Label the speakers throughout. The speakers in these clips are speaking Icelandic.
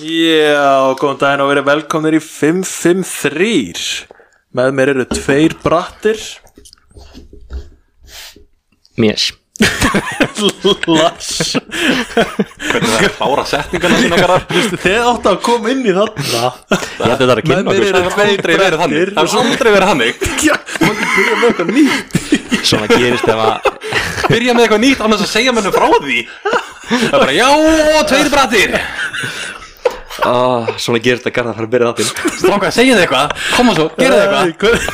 Speaker 1: Já, góðan daginn og verið velkomnir í 553 Með mér eru tveir brattir
Speaker 2: Mér
Speaker 1: Lars,
Speaker 3: Hvernig það er að bára setningarna sinna garðar
Speaker 1: þið áttu að koma inn í þarna
Speaker 2: Ég held að þetta er að
Speaker 1: Með
Speaker 2: kynna
Speaker 1: mér eru
Speaker 2: okkur
Speaker 3: Það hefur aldrei verið þannig Það hefur aldrei verið þannig
Speaker 1: Já, maður ekki byrja með eitthvað nýtt
Speaker 2: sko. Svona gerist ef að
Speaker 3: Byrja með eitthvað nýtt annars að segja mennum frá því Það er bara já, tveir brættir
Speaker 2: ah, Svona gerist að garða að fara að byrja þáttinn
Speaker 3: Stráka, segja þið eitthvað Koma svo, gera þið eitthvað
Speaker 1: eitthvað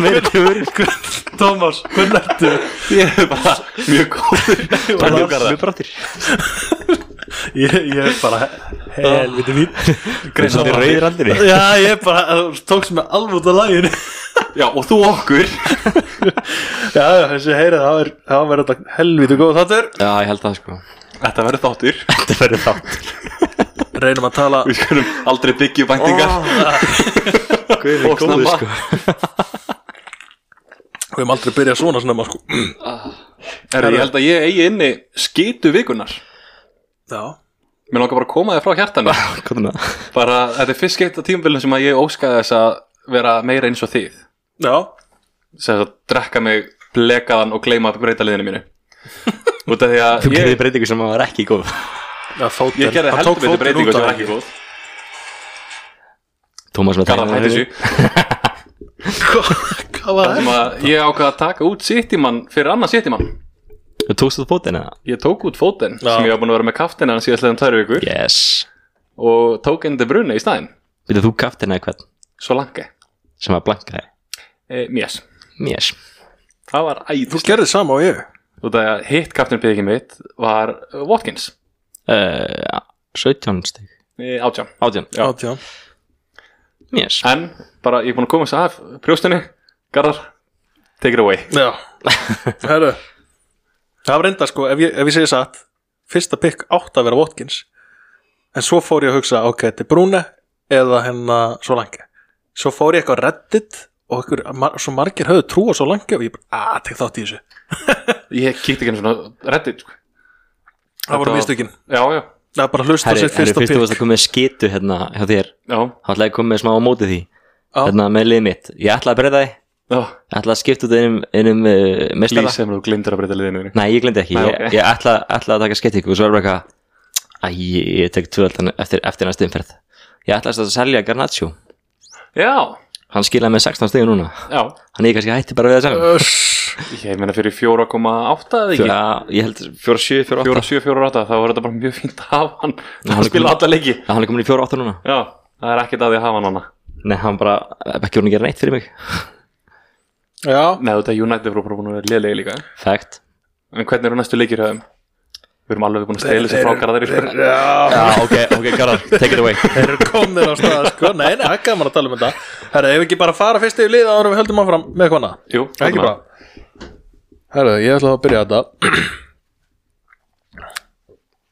Speaker 2: Meira kjör
Speaker 1: Tómas, hvernig ertu?
Speaker 3: Ég er bara mjög góður Það er mjög garðar
Speaker 2: Mjög brattir
Speaker 1: Ég, ég er bara helviti mín
Speaker 2: Greins að þið rauðir andinni
Speaker 1: Já, ég er bara, þú tókst mig alveg út af læginu
Speaker 3: Já, og þú okkur
Speaker 1: Já, já, þessi heyrið, þá er- þá verður þetta helviti góð þáttur
Speaker 2: Já, ég held það sko
Speaker 3: Þetta verður þáttur
Speaker 2: Þetta verður þátt
Speaker 1: Reynum að tala
Speaker 3: Við skulum aldrei byggja upp væntingar
Speaker 2: Guð sko.
Speaker 3: Og snemma.
Speaker 1: Við höfum aldrei byrjað svona snemma sko
Speaker 3: Herru, Ég held að ég eigi inni skitu vikunar
Speaker 1: Já
Speaker 3: Mér langar bara að koma þið frá hjartanu
Speaker 2: Hvernig það?
Speaker 3: Bara, þetta er fyrst skeitt á tímabilin sem að ég óskaði þess að vera meira eins og þið
Speaker 1: Já,
Speaker 3: sem að drekka mig blekaðan og gleyma breytaliðinu mínu út af því að
Speaker 2: Þú gerði
Speaker 3: ég,
Speaker 2: breytingu sem var ekki góð
Speaker 1: Já, fótinn
Speaker 3: ég gerði
Speaker 1: Hann
Speaker 3: heldur
Speaker 1: tók
Speaker 3: betur
Speaker 1: fótinn
Speaker 3: breytingu
Speaker 1: út
Speaker 3: sem
Speaker 1: af laginu.
Speaker 2: Tómas
Speaker 3: var ekki góð
Speaker 2: með
Speaker 3: Garðan hætti þessu
Speaker 1: Hvað var
Speaker 3: sem að ég ákvaði að taka út sittimann fyrir annað sittimann
Speaker 2: Þú tókst þú fótinn eða?
Speaker 3: ég tók út fótinn
Speaker 1: Já.
Speaker 3: sem ég var búin að vera með kaftina hann síðastlega um tvær vikur
Speaker 2: Yes
Speaker 3: og tók inn til brunni í staðinn
Speaker 2: Vilja þú kaftin eða hvern?
Speaker 3: svo langi
Speaker 2: Sem að blanka þig
Speaker 3: e, mjess
Speaker 2: Mér
Speaker 3: það var
Speaker 1: Þú
Speaker 3: æðislega
Speaker 1: gerðið sama og ég
Speaker 3: út af því að hitt kaftin pekið mitt var eh, Watkins
Speaker 2: uh, 17 stig
Speaker 3: e, átján
Speaker 2: 18
Speaker 3: Já.
Speaker 1: Átján
Speaker 2: Mér
Speaker 3: en bara ég er búin að koma þess að af brjóstinni Garðar take it away
Speaker 1: Já Herru Það var reynda sko, ef ég, ef ég segi satt Fyrsta pikk átt að vera Watkins En svo fór ég að hugsa, ok, þetta er Brúne Eða hennar svo langi Svo fór ég eitthvað á reddit Og ykkur, mar, svo margir höfðu trú á svo langi Og ég bara, að, tek þátt í þessu
Speaker 3: ég kíkti ekki einu svona reddit sko.
Speaker 1: Það voru
Speaker 3: Þetta-
Speaker 1: mistökin
Speaker 3: já já
Speaker 1: Það er bara að hlusta á
Speaker 2: Herri,
Speaker 1: sitt
Speaker 2: herri
Speaker 1: fyrsta
Speaker 2: fyrst þú varst
Speaker 1: pikk
Speaker 2: að koma með skitu hérna hjá þér
Speaker 3: já,
Speaker 2: þá ætlaði ég að koma með smá á móti því
Speaker 1: Já.
Speaker 2: hérna með liðið mitt, ég ætlaði að breyta því ég
Speaker 3: já.
Speaker 2: ætlaði að skipta út einum, einum uh, mestara
Speaker 3: lýs sem þú glindur að breyta liðinu þínu.
Speaker 2: nei, ég glemdi ekki,
Speaker 3: Nei,
Speaker 2: ég,
Speaker 3: ok.
Speaker 2: ég ætlaði, ætlaði að taka skipti ykkur og svo er bara eitthvað æ, ég, ég tek tvöld eftir, eftir næstu umferð ég ætlaði að selja Garnaccio
Speaker 3: já,
Speaker 2: hann skilaði með 16 stegur núna
Speaker 3: já
Speaker 2: hann ég kannski hætti bara við að selja
Speaker 1: Öss.
Speaker 3: ég meina fyrir 4,8 eða ekki
Speaker 2: Fjó- já, ég held 4-7, 4-8
Speaker 3: 4,7, 4,8 þá er þetta bara mjög fínt að hafa hann
Speaker 2: hann
Speaker 3: hann
Speaker 2: er
Speaker 3: spila
Speaker 2: komin-
Speaker 3: alla leiki
Speaker 2: hann er komin í 4-8 núna
Speaker 3: já, það er ekkert að því að hafa hann hana
Speaker 2: nei, hann bara, ekki voru að gera neitt fyrir mig
Speaker 1: Já,
Speaker 3: neðu þetta er United frá búin að vera liðlegi líka
Speaker 2: fact
Speaker 3: en hvernig eru næstu leikir höfum við erum alveg búin að stela þessu
Speaker 1: Þeir-
Speaker 3: frákara þeir sko.
Speaker 1: já
Speaker 2: já, ok, ok, Garðar, take it away
Speaker 1: Þeir eru komnir á stað sko Nei, nei, það er gaman að tala um þetta Herra, ef við ekki bara fara fyrst yfir liða árum við höldum áfram með hvona
Speaker 3: jú,
Speaker 1: Ekki bara Herra, ég ætla að byrja þetta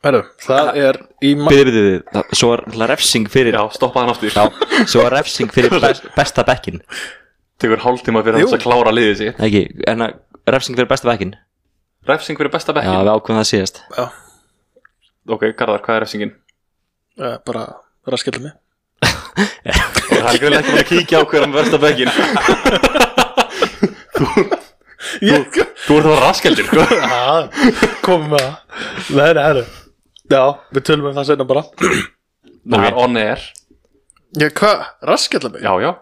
Speaker 1: Herra, það er í ma-
Speaker 2: Byrði, byrði, byrði, svo er náttúrulega refsing fyrir
Speaker 3: já, stoppa hann aftur
Speaker 2: Já, svo er refsing fyrir best, besta bekkin
Speaker 3: tekur hálftíma fyrir
Speaker 1: Jú.
Speaker 3: hans að klára liðið sitt
Speaker 2: Ekki, en að refsing fyrir besta bekkin Já,
Speaker 3: refsing fyrir besta bekkin
Speaker 2: við ákveðum það síðast
Speaker 1: Já,
Speaker 3: ok, Garðar, hvað er refsingin?
Speaker 1: eh, bara, bara að skella mig
Speaker 3: það er greinlega ekki búin að kíkja á hverjum versta bekkin
Speaker 1: Ég,
Speaker 3: þú ert það raskeldur sko.
Speaker 1: já, komum með það Nei, nei, herra Já, við tölum um það seinna bara
Speaker 3: það er on air
Speaker 1: Ég, hvað, raskella mig?
Speaker 3: já, já,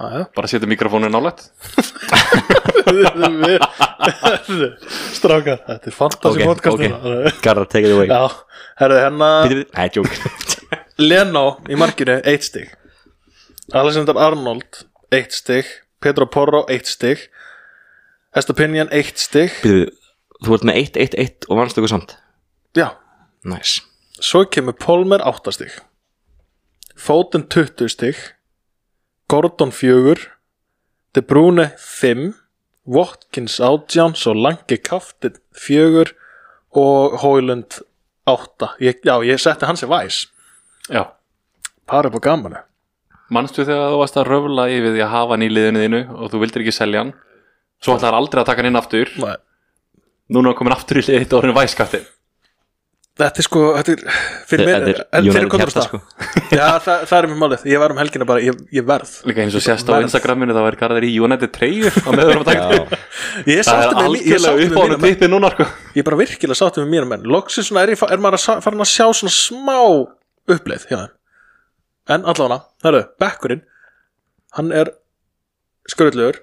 Speaker 1: Já, já
Speaker 3: bara setja mikrofónu nálægt
Speaker 1: Herru, Strákar, þetta er fantasi
Speaker 2: Ok,
Speaker 1: okay,
Speaker 2: ok, Garðar, take it away
Speaker 1: Já, herra, hennar
Speaker 2: Byrði, byrði, nei, joke
Speaker 1: Leno í markinu, eitt stig Alexander Arnold, eitt stig Pedro Porro, eitt stig Estopinian, eitt stig
Speaker 2: Byrði, þú ert með 1-1-1 og vannst okkur samt
Speaker 1: Já,
Speaker 2: Næs nice.
Speaker 1: svo kemur Polmer, átta stig Fóten, 20 stig Gordon, fjögur De Bruyne, fimm Watkins, átján Svo langi kaftin, fjögur Og Hoylund, átta ég, Já, ég setti hans í væs
Speaker 3: já
Speaker 1: Par upp á gamanu
Speaker 3: Manstu þegar þú varst að röfla yfir því að hafa hann í liðinu þínu og þú vildir ekki selja hann Svo ætlar aldrei að taka hann inn aftur
Speaker 1: Nei
Speaker 3: Núna er hann komin aftur í liðið og hann er væskaftin
Speaker 1: Þetta er sko, þetta er fyrir mér,
Speaker 2: Þetta er
Speaker 1: en fyrir
Speaker 2: United
Speaker 1: kontra
Speaker 2: hjarta
Speaker 1: stað
Speaker 2: sko
Speaker 1: Já, það, það er mér málið, ég var um helgina bara, ég, ég verð
Speaker 3: Líka eins og sérst á
Speaker 1: Verð.
Speaker 3: Instagraminu þá er Garðar í United 3 á meður um að taka
Speaker 2: Já,
Speaker 1: Ég
Speaker 3: Það er
Speaker 1: sátti með, ég
Speaker 3: algjörlega
Speaker 1: sátti með
Speaker 3: upp á hann
Speaker 1: mínum menn
Speaker 3: tippi núna sko
Speaker 1: Ég er bara virkilega sátti með mínum menn Loksins svona er, ég, fa- er maður að sa- farin að sjá svona smá uppleið hjá þeim En allavega, herru, bekkurinn Hann er skröldlegur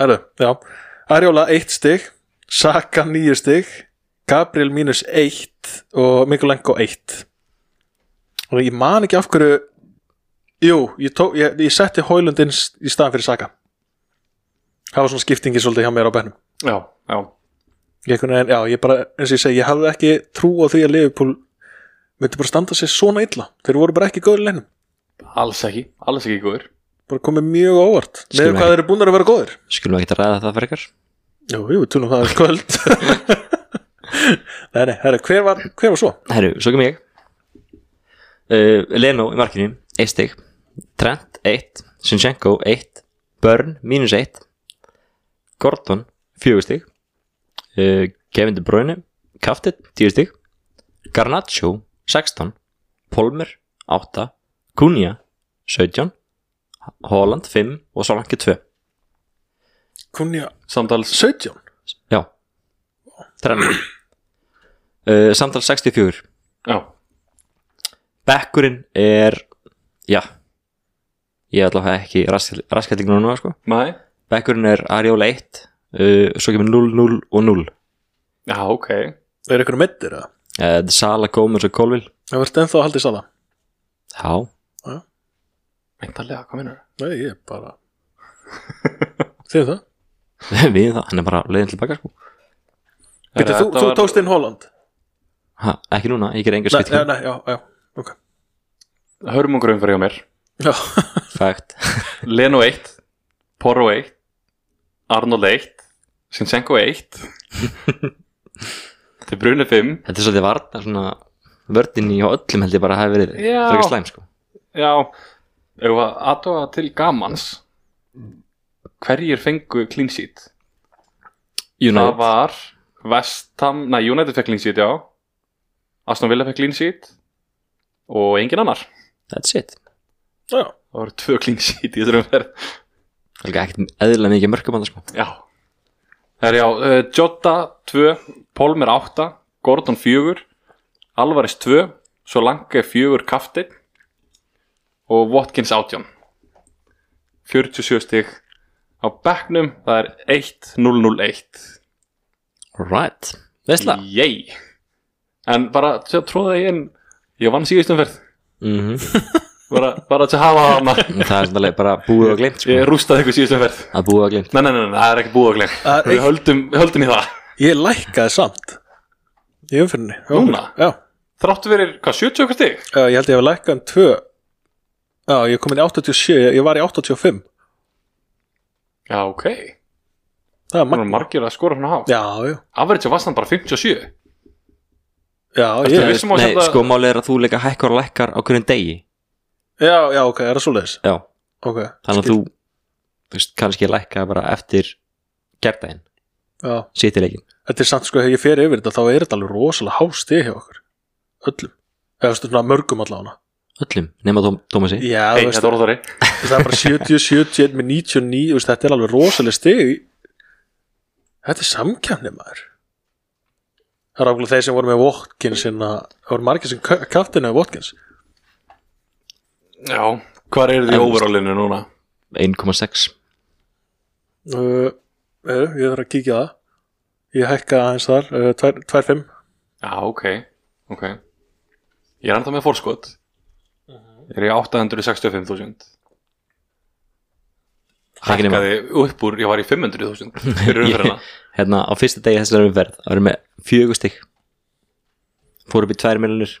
Speaker 1: Herru, já Arjóla 1 stig Saka 9 stig Gabriel mínus 1 og Mikulenko 1 og ég man ekki af hverju jú, ég, tó, ég, ég setti Hoylund inn s- í staðan fyrir Saka það var svona skiptingi svolítið hjá mér á bennum
Speaker 3: Já, já
Speaker 1: ég, einhvern veginn- já, ég bara, eins og ég segi, ég hafði ekki trú á því að Liverpool myndi bara standa sér svona illa þeir voru bara ekki góður í lennum
Speaker 3: Alls ekki, alls ekki góður
Speaker 1: bara komið mjög á óvart
Speaker 2: Skilum
Speaker 1: með hvað
Speaker 2: ekki.
Speaker 1: þeir eru búin að vera góðir
Speaker 2: skulum ekki að ræða það fyrir ykkar
Speaker 1: jú, jú, tölum um það er kvöld nei, nei, herri, hver var, hver var svo?
Speaker 2: Herru, svo kem ég uh, Leno í markinu, 1 stig Trent, 1 Sinchenko, 1 Byrne, mínus 1 Gordon, 4 stig uh, Kevin De Bruyne Kaftit, 10 stig Garnaccio, 16 Polmer, 8 Kunja, 17 Holland, 5 og Solanke, 2
Speaker 1: Kunja
Speaker 3: Samtals
Speaker 1: 17
Speaker 2: Já, þrenna uh, Samtal 64
Speaker 3: Já,
Speaker 2: Bekkurinn er Já Ég ætla að hafa ekki raskætling núna sko.
Speaker 3: nei
Speaker 2: Bekkurinn er Ariola 1 uh, Svo kemur 0, 0 og 0 uh,
Speaker 3: Já, ok
Speaker 1: er ykkur meittir eða?
Speaker 2: þetta er Eh, Sala, Gómez og Kolvil
Speaker 1: það verður ennþá að halda í sala
Speaker 2: Já,
Speaker 3: Væntalega, hvað minnur?
Speaker 1: nei, ég er bara þið það?
Speaker 2: við það, hann er bara leiðin til baka sko.
Speaker 1: Býtu, þú, þú tókst inn Holland
Speaker 2: ha, Ekki núna, ég ger
Speaker 1: Nei,
Speaker 2: enga
Speaker 1: já,
Speaker 2: skipting
Speaker 1: nei, já, já, ok
Speaker 3: Hörmungurum fyrir hjá mér
Speaker 1: Já,
Speaker 2: Fakt,
Speaker 3: Leno 1 Porro 1 Arnold 1 Sinchenko 1 Til Brune 5
Speaker 2: þetta er svolítið varna svona Vördin í öllum held ég bara hafi verið
Speaker 3: Já.
Speaker 2: frekar slæm sko
Speaker 3: Já Ef að aðtóa til gamans Hverjir fengu clean sheet? Það
Speaker 2: United,
Speaker 3: var Vestham, nei United fekk clean sheet, já Aston Villa fekk clean sheet Og engin annar
Speaker 2: that's it
Speaker 1: já,
Speaker 3: Það voru tvö clean sheet í þessum umferð
Speaker 2: Það er ekkert eðlilega mikið mörgum hann sko.
Speaker 3: Já Það er já, uh, Jota 2 Polmer 8, Gordon 4 Alvarez 2 Svo langi 4 kaftin Og Watkins 18 47 stig Á bekknum, það er 1-0-0-1
Speaker 2: Alright, veistla
Speaker 3: Yey En bara til að tróða ég inn Ég vann síðust umferð
Speaker 2: mm
Speaker 3: Bara, bara til að hafa hana
Speaker 2: Það er svona bara búið og glemt sko.
Speaker 3: Ég rústaði ykkur síðust umferð
Speaker 2: Það er búið og glemt
Speaker 3: Nei, nei, nei, nei, það er ekki búið að glemja
Speaker 1: Það er
Speaker 3: Við
Speaker 1: eitt-
Speaker 3: höldum, við höldum í það
Speaker 1: ég lækkaði samt í umfyrinni
Speaker 3: Núna?
Speaker 1: Já,
Speaker 3: Þráttu verið, hvað, 70 okkar stig?
Speaker 1: já, ég held ég hef lækkað um tvö Já, ég kom inn í 87, ég- ég var í 85
Speaker 3: Já, ok Það
Speaker 1: Það er
Speaker 3: eru
Speaker 1: magna
Speaker 3: margir að skora svona hátt
Speaker 1: Já, já,
Speaker 3: Average var samt bara 57
Speaker 1: já,
Speaker 3: Ertu
Speaker 1: ég,
Speaker 3: viss? vissum að
Speaker 2: Nei,
Speaker 3: senda-
Speaker 2: sko, málið er að þú leika hækkar og lækkar á hverjum degi
Speaker 1: já, já, ok, er það svoleiðis
Speaker 2: Já,
Speaker 1: Ok,
Speaker 2: þannig að þú, þú veist, kannski lækka bara eftir gerdaginn,
Speaker 1: já,
Speaker 2: sittileikin
Speaker 1: þetta er samt sko, þegar ég fer yfir þetta þá er þetta alveg rosalega hásti hjá okkur Öllum, eða veistu svona mörgum allavega
Speaker 2: öllum, nema Tóm- Tómasi
Speaker 1: Já,
Speaker 3: Hei,
Speaker 1: þú veist,
Speaker 3: þetta voru þar
Speaker 1: það er bara 70, 71 með 99, þú veist, þetta er alveg rosalega stig í- þetta er samkjæmni maður það er ákveðlega þeir sem voru með Watkins en að- það voru margir sem kaftinu með Watkins
Speaker 3: Já, hvar eru þið í
Speaker 2: En-
Speaker 3: overallinu núna?
Speaker 2: 1,6
Speaker 1: uh, uh, ég þarf að kíkja á það ég hækka aðeins þar uh, 2-5
Speaker 3: Já, ok, ok Ég er ennþá með fórskot Ég er í 865.000
Speaker 2: Ekki nema.
Speaker 3: Hækkaði upp úr, ég var í 500.000 fyrir umferðina
Speaker 2: Hérna, á fyrsta degi þessar umferð það eru með fjögur stygg fór upp í 2 miljonir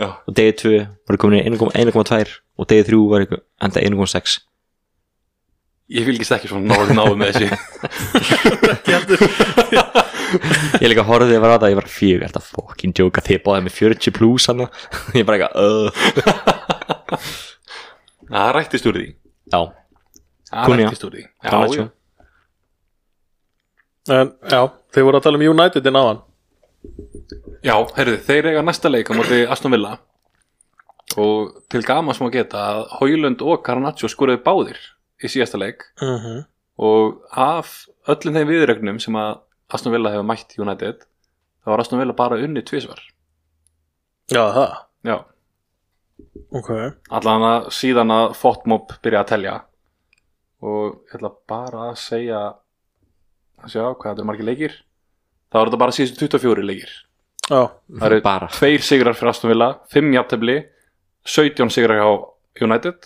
Speaker 3: Já,
Speaker 2: og degi 2 voru komin í 1,2 og degi 3 var ykkur- enda 1,6
Speaker 3: ég fylgist ekki svona náðu náðu með þessu
Speaker 2: Ég líka horfði yfir á það, ég var fjögur Þetta fucking joke að þið báðið með 40 plus hana Ég bara eitthvað, uh
Speaker 3: Na, Það rættist úr því
Speaker 2: Já,
Speaker 3: Það
Speaker 2: Kunja.
Speaker 3: rættist úr því Já,
Speaker 2: Garnaccio.
Speaker 3: já.
Speaker 1: en já, þeir voru að tala um United inn áðan
Speaker 3: Já, heyrðu, þeir eiga næsta leik á móti Aston Villa og til gamans má geta að Hoylund og Garnaccio skoruðu báðir í síðasta leik
Speaker 1: mm
Speaker 3: og af öllum þeim viðrögnum sem að Aston Villa hefur mætt United þá var Aston Villa bara unni tvisvar
Speaker 1: Já, það,
Speaker 3: Já,
Speaker 1: ok
Speaker 3: allan að síðan að Fotmob byrja að telja og ég ætla bara að segja að sjá hvað þetta er margir leikir þá er þetta bara síðustu 24 leikir
Speaker 1: Já,
Speaker 3: Það eru-
Speaker 2: bara
Speaker 3: tveir sigrar fyrir Aston Villa, fimm jafntefli 17 sigrar hjá United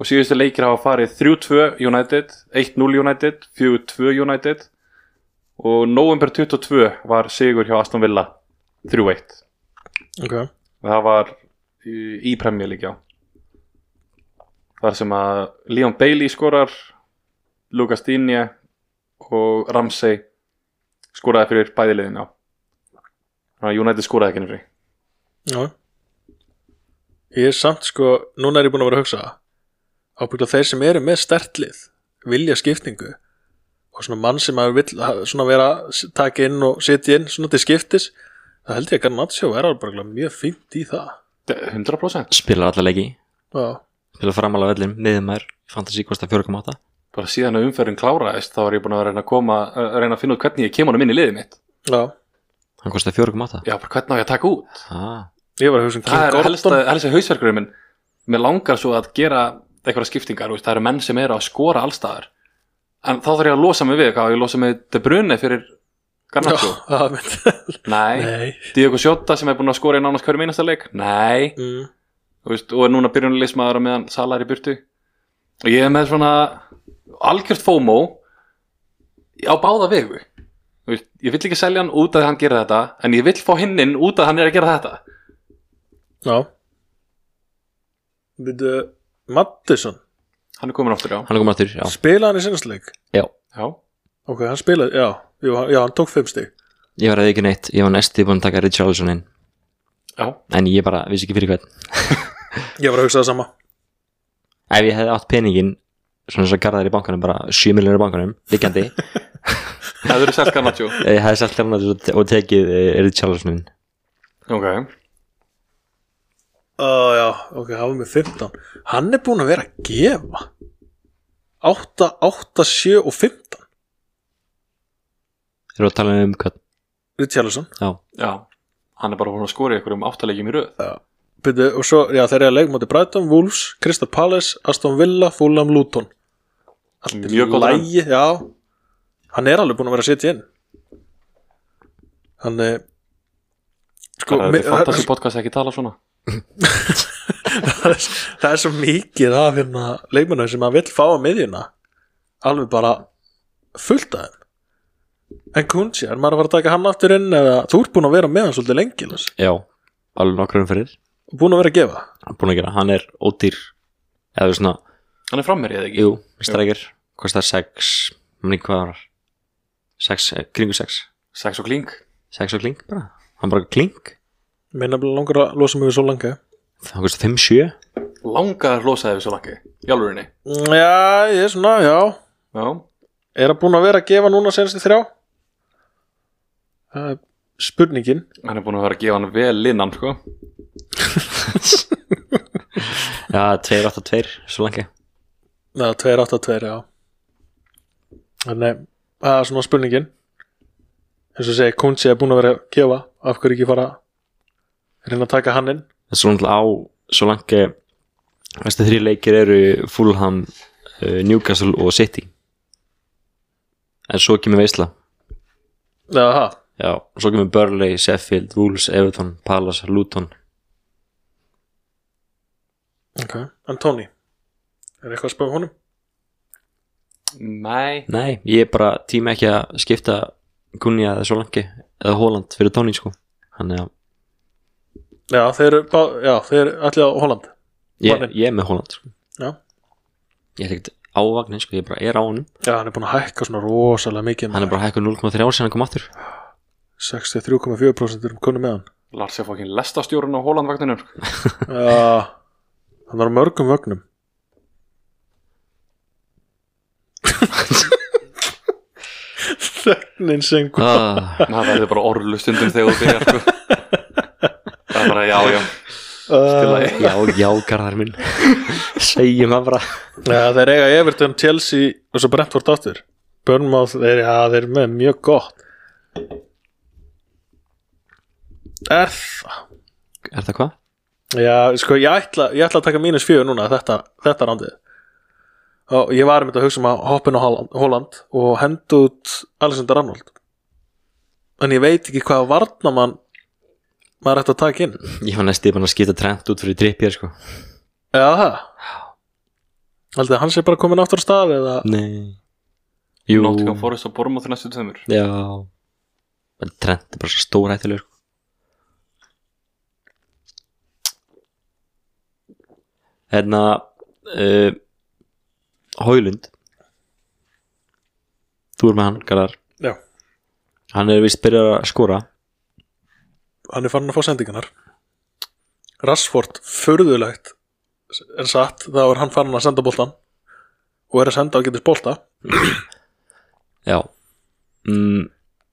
Speaker 3: og síðustu leikir hafa farið 3-2 United 1-0 United, 4-2 United og november 22 var sigur hjá Aston Villa 3-1
Speaker 1: ok
Speaker 3: og það var í, í premjö líka þar sem að Leon Bailey skorar Lucas Digne og Ramsey skoraði fyrir bæði liðin já þannig að United skoraði ekki nefnir
Speaker 1: Já Ég er samt sko, núna er ég búin að vera að hugsa ábyggla þeir sem eru með stertlið vilja skiptingu og svona mann sem að vill ha- svona vera taka inn og setja inn svona til skiptis, það held ég að Garnaccio er alveg mjög fínt í það
Speaker 3: 100%
Speaker 2: spilar alla leiki,
Speaker 1: Já,
Speaker 2: spilar framalega vellin miðumær, fantasy kosta 4,8
Speaker 3: bara síðan að umferðin kláraðist þá var ég búin að reyna að koma að reyna að finna út hvernig ég kemur honum inn í liðið mitt
Speaker 1: já,
Speaker 2: hann kosta 4,8
Speaker 3: já, bara hvernig á ég að taka út
Speaker 2: ah,
Speaker 1: ég var að hugsa um
Speaker 3: það
Speaker 1: King
Speaker 3: er helst
Speaker 1: Gordon
Speaker 3: að helst að hausverkurinn minn mér langar svo að gera eitthvað skiptingar, þú veist, það eru menn sem eru að skora allstaðar en þá þarf ég að losa mig við hvað, á ég að losa mig De Bruyne fyrir Garnaccio,
Speaker 1: Já, það mynd
Speaker 3: nei,
Speaker 1: Nei
Speaker 3: Diego Sjóta sem er búin að skora í nánast hverjum einasta leik, nei
Speaker 1: mm.
Speaker 3: Þú veist, og er núna byrjunarleismæður meðan Sala er í burtu og ég er með svona algjört FOMO á báða vegu Þú veist, ég vill ekki selja hann út að hann gera þetta en ég vill fá hinn inn út að hann er að gera þetta
Speaker 1: Já Byrju, Mattisson
Speaker 3: hann er komin aftur já,
Speaker 2: hann er komin aftur, já,
Speaker 1: spilaði hann í sinnsleik
Speaker 2: já
Speaker 3: já.
Speaker 1: Ok, hann spilaði, já, jú, hann- já, hann tók fimm stig
Speaker 2: ég var að ekki neitt, ég var næstu búin að taka Richarlison inn
Speaker 3: já.
Speaker 2: en ég bara vissi ekki fyrir hvern
Speaker 1: Ég var að hugsa það sama
Speaker 2: ef ég hefði átt peningin svona svo garðar í bankanum, bara 7 miljonir í bankanum liggjandi,
Speaker 3: það eru selt Garnaccio
Speaker 2: ég hefði selt hérna og tekið eh, Richarlison inn
Speaker 3: ok,
Speaker 1: Uh, já, ok, hann var með 15 Hann er búinn að vera að gefa 8, 8, 7 og 15
Speaker 2: erum við að tala um hvern,
Speaker 1: Richarlison
Speaker 2: já,
Speaker 3: já hann er bara búin að skora í einhverjum áttalegjum í röð
Speaker 1: Byrju, og svo, já, þeir eru að leikmáti Brighton, Wolves, Crystal Palace, Aston Villa, Fulham, Luton Allt
Speaker 3: Mjög góð
Speaker 1: lægi, já Hann er alveg búinn að vera að setja inn Hann er Sko,
Speaker 3: það
Speaker 1: mi-
Speaker 3: er fantasy podcast ekki tala svona
Speaker 1: það er, það er svo mikið af hérna leikmennu sem að vill fá á miðjuna alveg bara fullt af þeim en Kunji, er maður að fara að taka hann aftur inn eða þú ert búin að vera með hann svolítið lengi Lars.
Speaker 2: já alveg nokkrum fyrir,
Speaker 1: og búin að vera að gefa
Speaker 2: búin að gera, hann er ódýr eða svona,
Speaker 3: hann er frammerið eða ekki
Speaker 2: jú, strækir kostar 6, manni hvað var 6, kringu 6
Speaker 3: sex og klink
Speaker 2: 6 og klink bara, hann bara klink
Speaker 1: minna bara langar að losa mig við svo langa
Speaker 2: hann kostar 5, 7
Speaker 3: langar losaði við svo langi, jálfurinni
Speaker 1: já, ég er svona, já
Speaker 3: já,
Speaker 1: er hann búin að vera að gefa núna senst í þrjá það er spurningin
Speaker 3: hann er búin að vera að gefa hann vel innan sko.
Speaker 2: Já, 282, svo langi
Speaker 1: eða 282, já þannig, það er svona spurningin eins og segja, Kunji er búin að vera að gefa af hverju ekki fara að reyna að taka hann inn
Speaker 2: En svo náttúrulega á, svo langi Næstu þrý leikir eru Fulham, uh, Newcastle og City En svo kemur Veisla
Speaker 1: eða það,
Speaker 2: Já, svo kemur Burley, Sheffield, Wolves, Everton, Palace, Luton
Speaker 1: ok, en Tony er eitthvað að spá honum?
Speaker 3: nei,
Speaker 2: Nei, ég bara tíma ekki að skipta Gunja eða svo langi Eða Holland fyrir Tony sko Þannig að
Speaker 1: já, þeir eru, bá- já, þeir eru allir á Holland
Speaker 2: ég,
Speaker 1: Manninn.
Speaker 2: ég er með Holland sko.
Speaker 1: já,
Speaker 2: Ég er ekkert ávagnin sko, ég bara er á honum
Speaker 1: já, hann er búin að hækka svona rosalega mikið
Speaker 2: Hann er bara hækkuð 0,3 ár sem hann kom aftur
Speaker 1: 63,4% erum kunni um með hann
Speaker 3: Lars er fokkin lestastjórun á Hólandvagninum
Speaker 1: já, hann var á mörgum vögnum Þögnin sem kom
Speaker 2: ah,
Speaker 3: maður verður bara orlu stundum þegar þú byrjar sko. það er bara já já
Speaker 1: uh,
Speaker 3: lagi.
Speaker 2: Já, já, garðar minn Segjum það bara
Speaker 1: ja, Þeir eiga Everton, Chelsea og svo Brentford áttur Burnmouth, þeir, ja, þeir eru með mjög gott Er það
Speaker 2: Er það hvað?
Speaker 1: Já, sko, ég ætla, ég ætla að taka mínus fjögur núna þetta, þetta randið og ég var einmitt að hugsa um að hoppa inn á Holland, Holland og henda út Alexander Arnold en ég veit ekki hvað varnamann maður ætti að taka inn
Speaker 2: Ég var næstu búin að skipta trend út fyrir drippjér sko
Speaker 1: eða það Haldið að hann sé bara komin aftur á stað eða
Speaker 2: Nei Jú
Speaker 3: Nottingham Forest og Bormóð næstu tveimur
Speaker 2: Já En trend er bara svo stóra ættilegur sko. Hérna uh, Hólund Þú er með hann, garðar
Speaker 1: Já.
Speaker 2: Hann er vist byrjað að skora
Speaker 1: hann er farin að fá sendingarnar Rashford, furðulegt en satt, þá er hann farin að senda boltan og er að senda á getur bolta
Speaker 2: Já mm,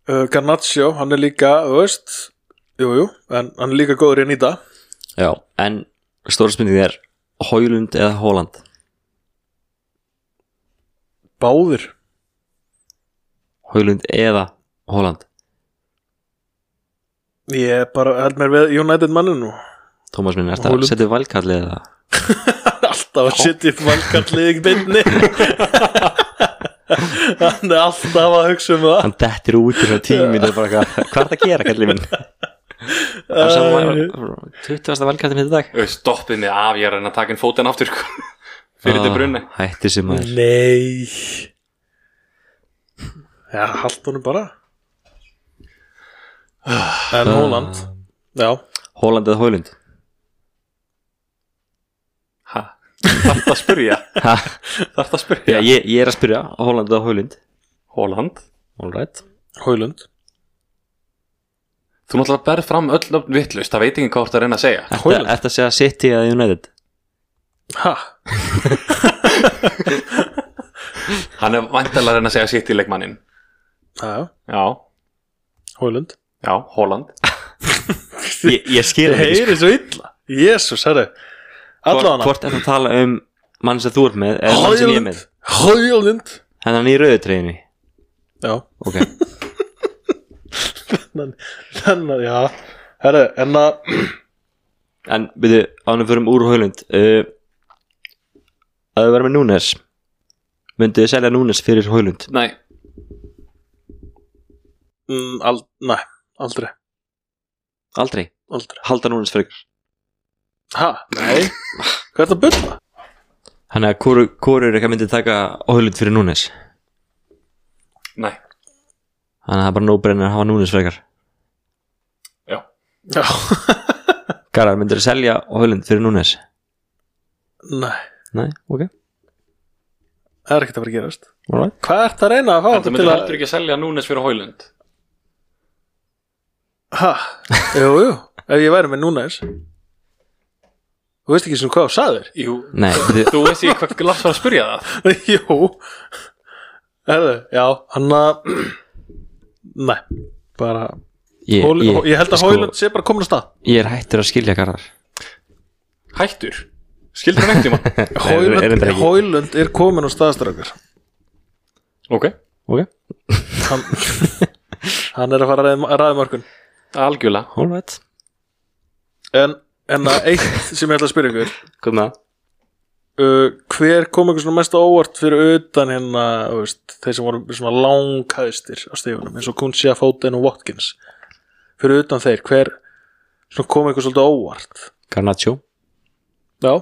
Speaker 1: uh, Garnaccio, hann er líka þú veist, jú, jú, en hann er líka góður í að nýta
Speaker 2: Já, en stóra spurningin er Hólund eða Hóland
Speaker 1: báðir
Speaker 2: Hólund eða Hóland
Speaker 1: ég bara held mér við United manninu
Speaker 2: Tómas minn, ertu að
Speaker 1: Højlund.
Speaker 2: setja valkalli eða
Speaker 1: alltaf að setja upp vangarlið í beinni hann er alltaf að hugsa um það
Speaker 2: Hann dettir út í svona tími Það er bara eitthvað, hvað er það að gera kalli minn Það
Speaker 1: Eh,
Speaker 2: er saman 20. valkallin hitt í dag
Speaker 3: stoppið mig af ég er að reyna að taka inn fótinn aftur sko. fyrir
Speaker 2: Ah,
Speaker 3: þetta brunni
Speaker 2: Hætti sem maður
Speaker 1: nei já, haldt honum bara en Holland já,
Speaker 2: Hóland Ah. eða Hólund
Speaker 3: þarf það að spyrja
Speaker 2: Ha?
Speaker 3: þarf það að
Speaker 2: Já,
Speaker 3: spyrja
Speaker 2: ég, ég er að spyrja, Hóland eða Hólund
Speaker 3: Holland
Speaker 2: All right
Speaker 1: Hólund
Speaker 3: þú náttúrulega berð fram öll nöfn vittlust það veit ekki hvað þú ert að reyna að segja
Speaker 2: Ertu ertu að segja City eða United
Speaker 1: ha,
Speaker 3: hann er vantalega að reyna að segja sitt í leikmannin
Speaker 1: já,
Speaker 3: já,
Speaker 1: Hólund
Speaker 3: já, Holland
Speaker 2: Ég, ég skil
Speaker 1: Ég
Speaker 2: það ekki, sko.
Speaker 1: heyri svo illa Jésús, herri Allavega
Speaker 2: Hvort er það að tala um mann sem þú ert með eða mann sem ég er
Speaker 1: Hægjalind
Speaker 2: með
Speaker 1: Hægjalind
Speaker 2: Hennan hann í rauðutreyðinni
Speaker 1: Já,
Speaker 2: Ok,
Speaker 1: þannig, Hérna, já Herri, en að
Speaker 2: en byrju, ánum fyrir um úr Hólund uh, að við verðum með Núnes myndið þið selja Núnes fyrir Hólund
Speaker 3: nei,
Speaker 1: mm, al, Næ, aldrei,
Speaker 2: aldrei,
Speaker 1: aldrei
Speaker 2: halda Núnes frekar
Speaker 1: Ha, nei Hvað er það að byrja?
Speaker 2: þannig að hvoru hvor er eitthvað myndið þið taka Hólund fyrir Núnes
Speaker 3: nei,
Speaker 2: þannig að það er bara nóbrennir að hafa Núnes frekar
Speaker 3: já
Speaker 1: Já,
Speaker 2: Garðar, myndir þið selja Hólund fyrir Núnes
Speaker 1: nei,
Speaker 2: nei, ok,
Speaker 1: það er ekkert að vera að gerast
Speaker 2: alright
Speaker 1: Hvað ert að reyna að fá
Speaker 3: en þú
Speaker 1: okkur til
Speaker 3: myndir
Speaker 1: að
Speaker 3: heldur ekki að selja Núnes fyrir Holland
Speaker 1: Ha, jú, jú Ef ég væri með núna eins Þú veist ekki sem hvað þú sagðir
Speaker 3: jú,
Speaker 2: nei, byrju,
Speaker 3: þú veist ekki hvað Lars var að spyrja það
Speaker 1: Jú Herðu, já, hann að Nei, bara
Speaker 2: ég,
Speaker 1: Hól, ég, held að sko,
Speaker 2: sko,
Speaker 1: Hóilund sé bara komin á stað
Speaker 2: ég er hættur að skilja Garðar
Speaker 3: hættur, skildur hann eftir mann
Speaker 2: er
Speaker 1: Hóilund
Speaker 2: þetta
Speaker 1: er,
Speaker 2: ekki?
Speaker 1: Hóilund er komin á staðstrakar
Speaker 3: ok,
Speaker 2: ok,
Speaker 1: hann, hann er að fara að ræða- að ræða mörkun
Speaker 3: algjörlega
Speaker 2: alright,
Speaker 1: en, en að eitt sem ég ætla að spyrja ykkur
Speaker 2: kom með það
Speaker 1: uh, hver kom ykkur svona mest á óvart fyrir utan hérna þú veist, þeir sem voru svona langhæðstir á stegunum eins og Kunsia, Foden og Watkins fyrir utan þeir, hver svona kom ykkur svolítið á óvart
Speaker 2: Garnaccio,
Speaker 1: já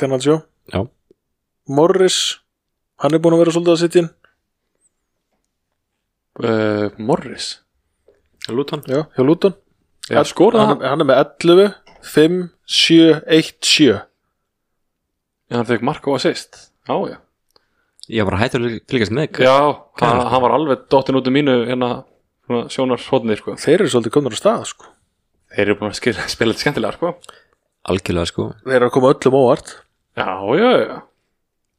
Speaker 1: Garnaccio
Speaker 2: já,
Speaker 1: Morris, hann er búin að vera svolítið að sitja inn
Speaker 3: uh, Morris
Speaker 2: Luton
Speaker 1: já, hjá Luton
Speaker 3: Já, skoraði
Speaker 1: hann, hann er með 11, 5, 7, 1, 7
Speaker 3: Já, hann fekk mark og assist Já, já
Speaker 2: ég var bara hættur að fylgjast með ykkur.
Speaker 3: Já, hann, hann var alveg dottin út um mínu hérna svona sjónarhóðnir sko.
Speaker 1: Þeir eru svolítið komnir á stað sko.
Speaker 3: Þeir eru búin að skil, spila þetta skemmtilega sko.
Speaker 2: algjörlega sko
Speaker 1: Þeir eru að koma öllum óvart
Speaker 3: Já, já, já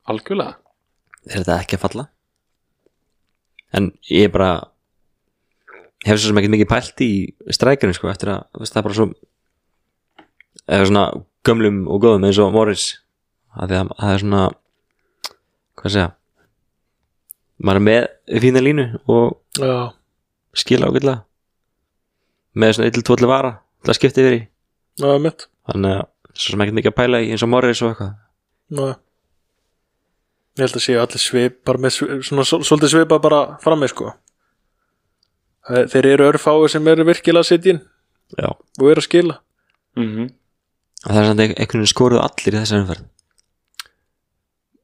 Speaker 3: Algjörlega
Speaker 2: er þetta ekki að falla en ég bara hef svo sem ekkert mikið pælt í strækjunum sko eftir að þú veist, það er bara svo eða svona gömlum og góðum eins og Morris að því að það er svona hvað segja maður er með fína línu og
Speaker 1: Já,
Speaker 2: skila ágætlega með svona 1-2 vara til að skipta yfir í
Speaker 1: það er mitt
Speaker 2: þannig að svo sem ekkert mikið að pæla í eins og Morris og eitthvað
Speaker 1: Ná. Ég held að séu allir svipar með svi- svona svol- svolítið svipar bara frammi sko Eh, Þeir eru örfáir sem eru virkilega að sitja inn
Speaker 2: já
Speaker 1: og eru að skila
Speaker 3: mm
Speaker 2: og það er samt einhvern veginn skoruð allir í þessari umferð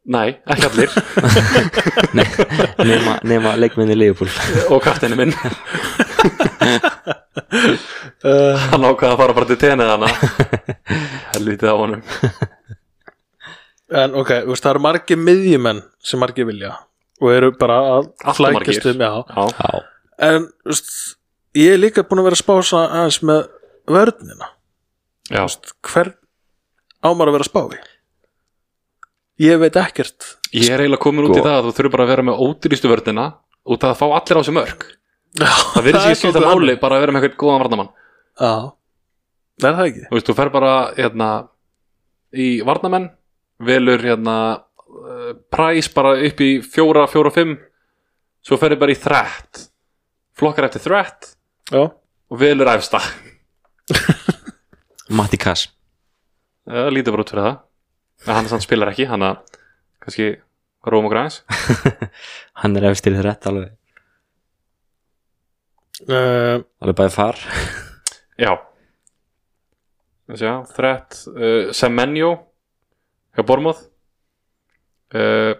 Speaker 3: Nei, ekki allir
Speaker 2: nema, nema leikminni Leopold
Speaker 3: og kaftinu minn
Speaker 1: uh,
Speaker 3: hann ákvaði að fara bara til tenið hana helvitið á honum
Speaker 1: En ok, þú veist, það eru margir miðjumenn sem margir vilja og eru bara að
Speaker 3: Allt of
Speaker 1: flækjast
Speaker 3: margir.
Speaker 1: um já.
Speaker 3: Já,
Speaker 2: já,
Speaker 1: En þú veist, ég er líka búin að vera að spása aðeins með vörnina
Speaker 3: já.
Speaker 1: Hver ámar að vera að spá í? Ég veit ekkert
Speaker 3: Ég er eiginlega komin út í
Speaker 2: Sko.
Speaker 3: það að þú þurfur bara að vera með ódýrýstu vörnina út að fá allir á þessu mörg
Speaker 1: Það
Speaker 3: Það verður sér skipta
Speaker 1: svolítið
Speaker 3: máli bara að vera með eitthvað góðan varnamann
Speaker 1: þannig. Já, það er það ekki
Speaker 3: Þú veist, þú fer bara hérna, í varnamenn velur hérna uh, præs bara upp í fjóra, fjóra, fimm svo ferðu bara í þrætt flokkar eftir þrætt
Speaker 1: Já,
Speaker 3: og velur æfsta
Speaker 2: Matti Kass
Speaker 3: Það lítur bara út fyrir það en hann samt spilar ekki, hann að kannski róm og græns
Speaker 2: hann er efstir þér rétt alveg
Speaker 1: uh,
Speaker 2: alveg bæði far
Speaker 3: Já Þessi, já, Þrætt uh, Semenjó hjá Bormóð uh,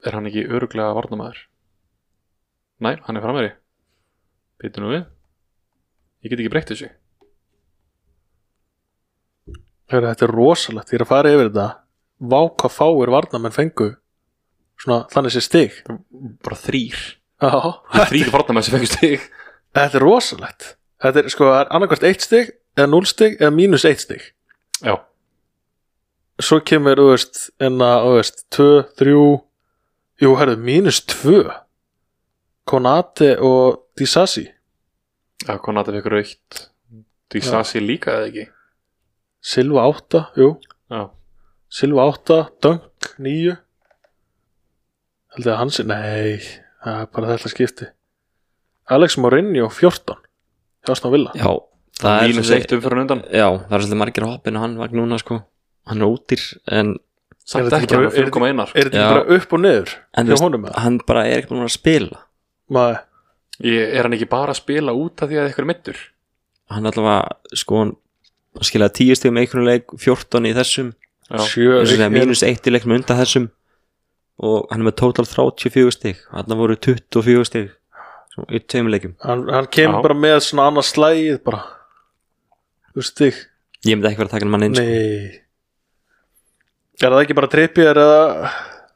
Speaker 3: Er hann ekki öruglega varnamaður? Nei, hann er framöri Býtu nú við Ég get ekki breytt þessu
Speaker 1: heyrðu, Þetta er rosalegt, ég er að fara yfir þetta Vá hvað fáir varnamenn fengu Svona, þannig sé stig
Speaker 3: Bara þrýr
Speaker 1: Já,
Speaker 3: Þrýr varnamaður sem fengur stig
Speaker 1: þetta er rosalegt Þetta er sko, það er annarkvært eitt stig eða núl stig eða mínus eitt stig
Speaker 3: Já,
Speaker 1: Svo kemur, þú veist, enna, þú veist, tvö, þrjú Jú, herðu, mínus tvö Konate og Disasi
Speaker 3: já Konata fekk raukt Dísasi líka eða ekki
Speaker 1: Silva átta, jú
Speaker 3: Já,
Speaker 1: Silva 8, Dunk 9 Haldið að hans er, nei það er bara þetta skipti Alex Mourinho 14 hjá Aston Villa
Speaker 2: já, það er
Speaker 3: mínus eitt
Speaker 2: svolítið-
Speaker 3: um fyrir undan
Speaker 2: já, það er svolítið margir á hoppinu hann var núna sko hann er útýr en,
Speaker 3: Samt
Speaker 1: þetta
Speaker 3: ekki,
Speaker 1: ekki
Speaker 3: hann
Speaker 1: bara-
Speaker 3: er
Speaker 1: er þetta-
Speaker 3: 4,1 sko.
Speaker 1: Er þetta
Speaker 2: Já.
Speaker 1: ekki bara upp og niður
Speaker 2: en
Speaker 1: hjá
Speaker 2: þú
Speaker 1: honum
Speaker 2: veist,
Speaker 1: eða?
Speaker 2: hann bara er ekkert búin að spila
Speaker 1: Maður,
Speaker 3: Ég- Er hann ekki bara að spila út af því að eitthvað er mittur?
Speaker 2: hann allavega sko hann skilaði 10 stegum einhvern leik 14 í þessum
Speaker 3: Já,
Speaker 1: sjö
Speaker 2: eins og segja
Speaker 1: er-
Speaker 2: mínus 1 í leiknum undan þessum og hann er með total 34 steg hann voru 24 steg svo sko, í tveim leikum
Speaker 1: hann, hann kemur
Speaker 3: Já.
Speaker 1: bara með svona annað slægið bara Þú veist þig
Speaker 2: ég myndi ekki vera að taka hann mann sko. eins
Speaker 1: Nei Er það ekki bara trippjör eða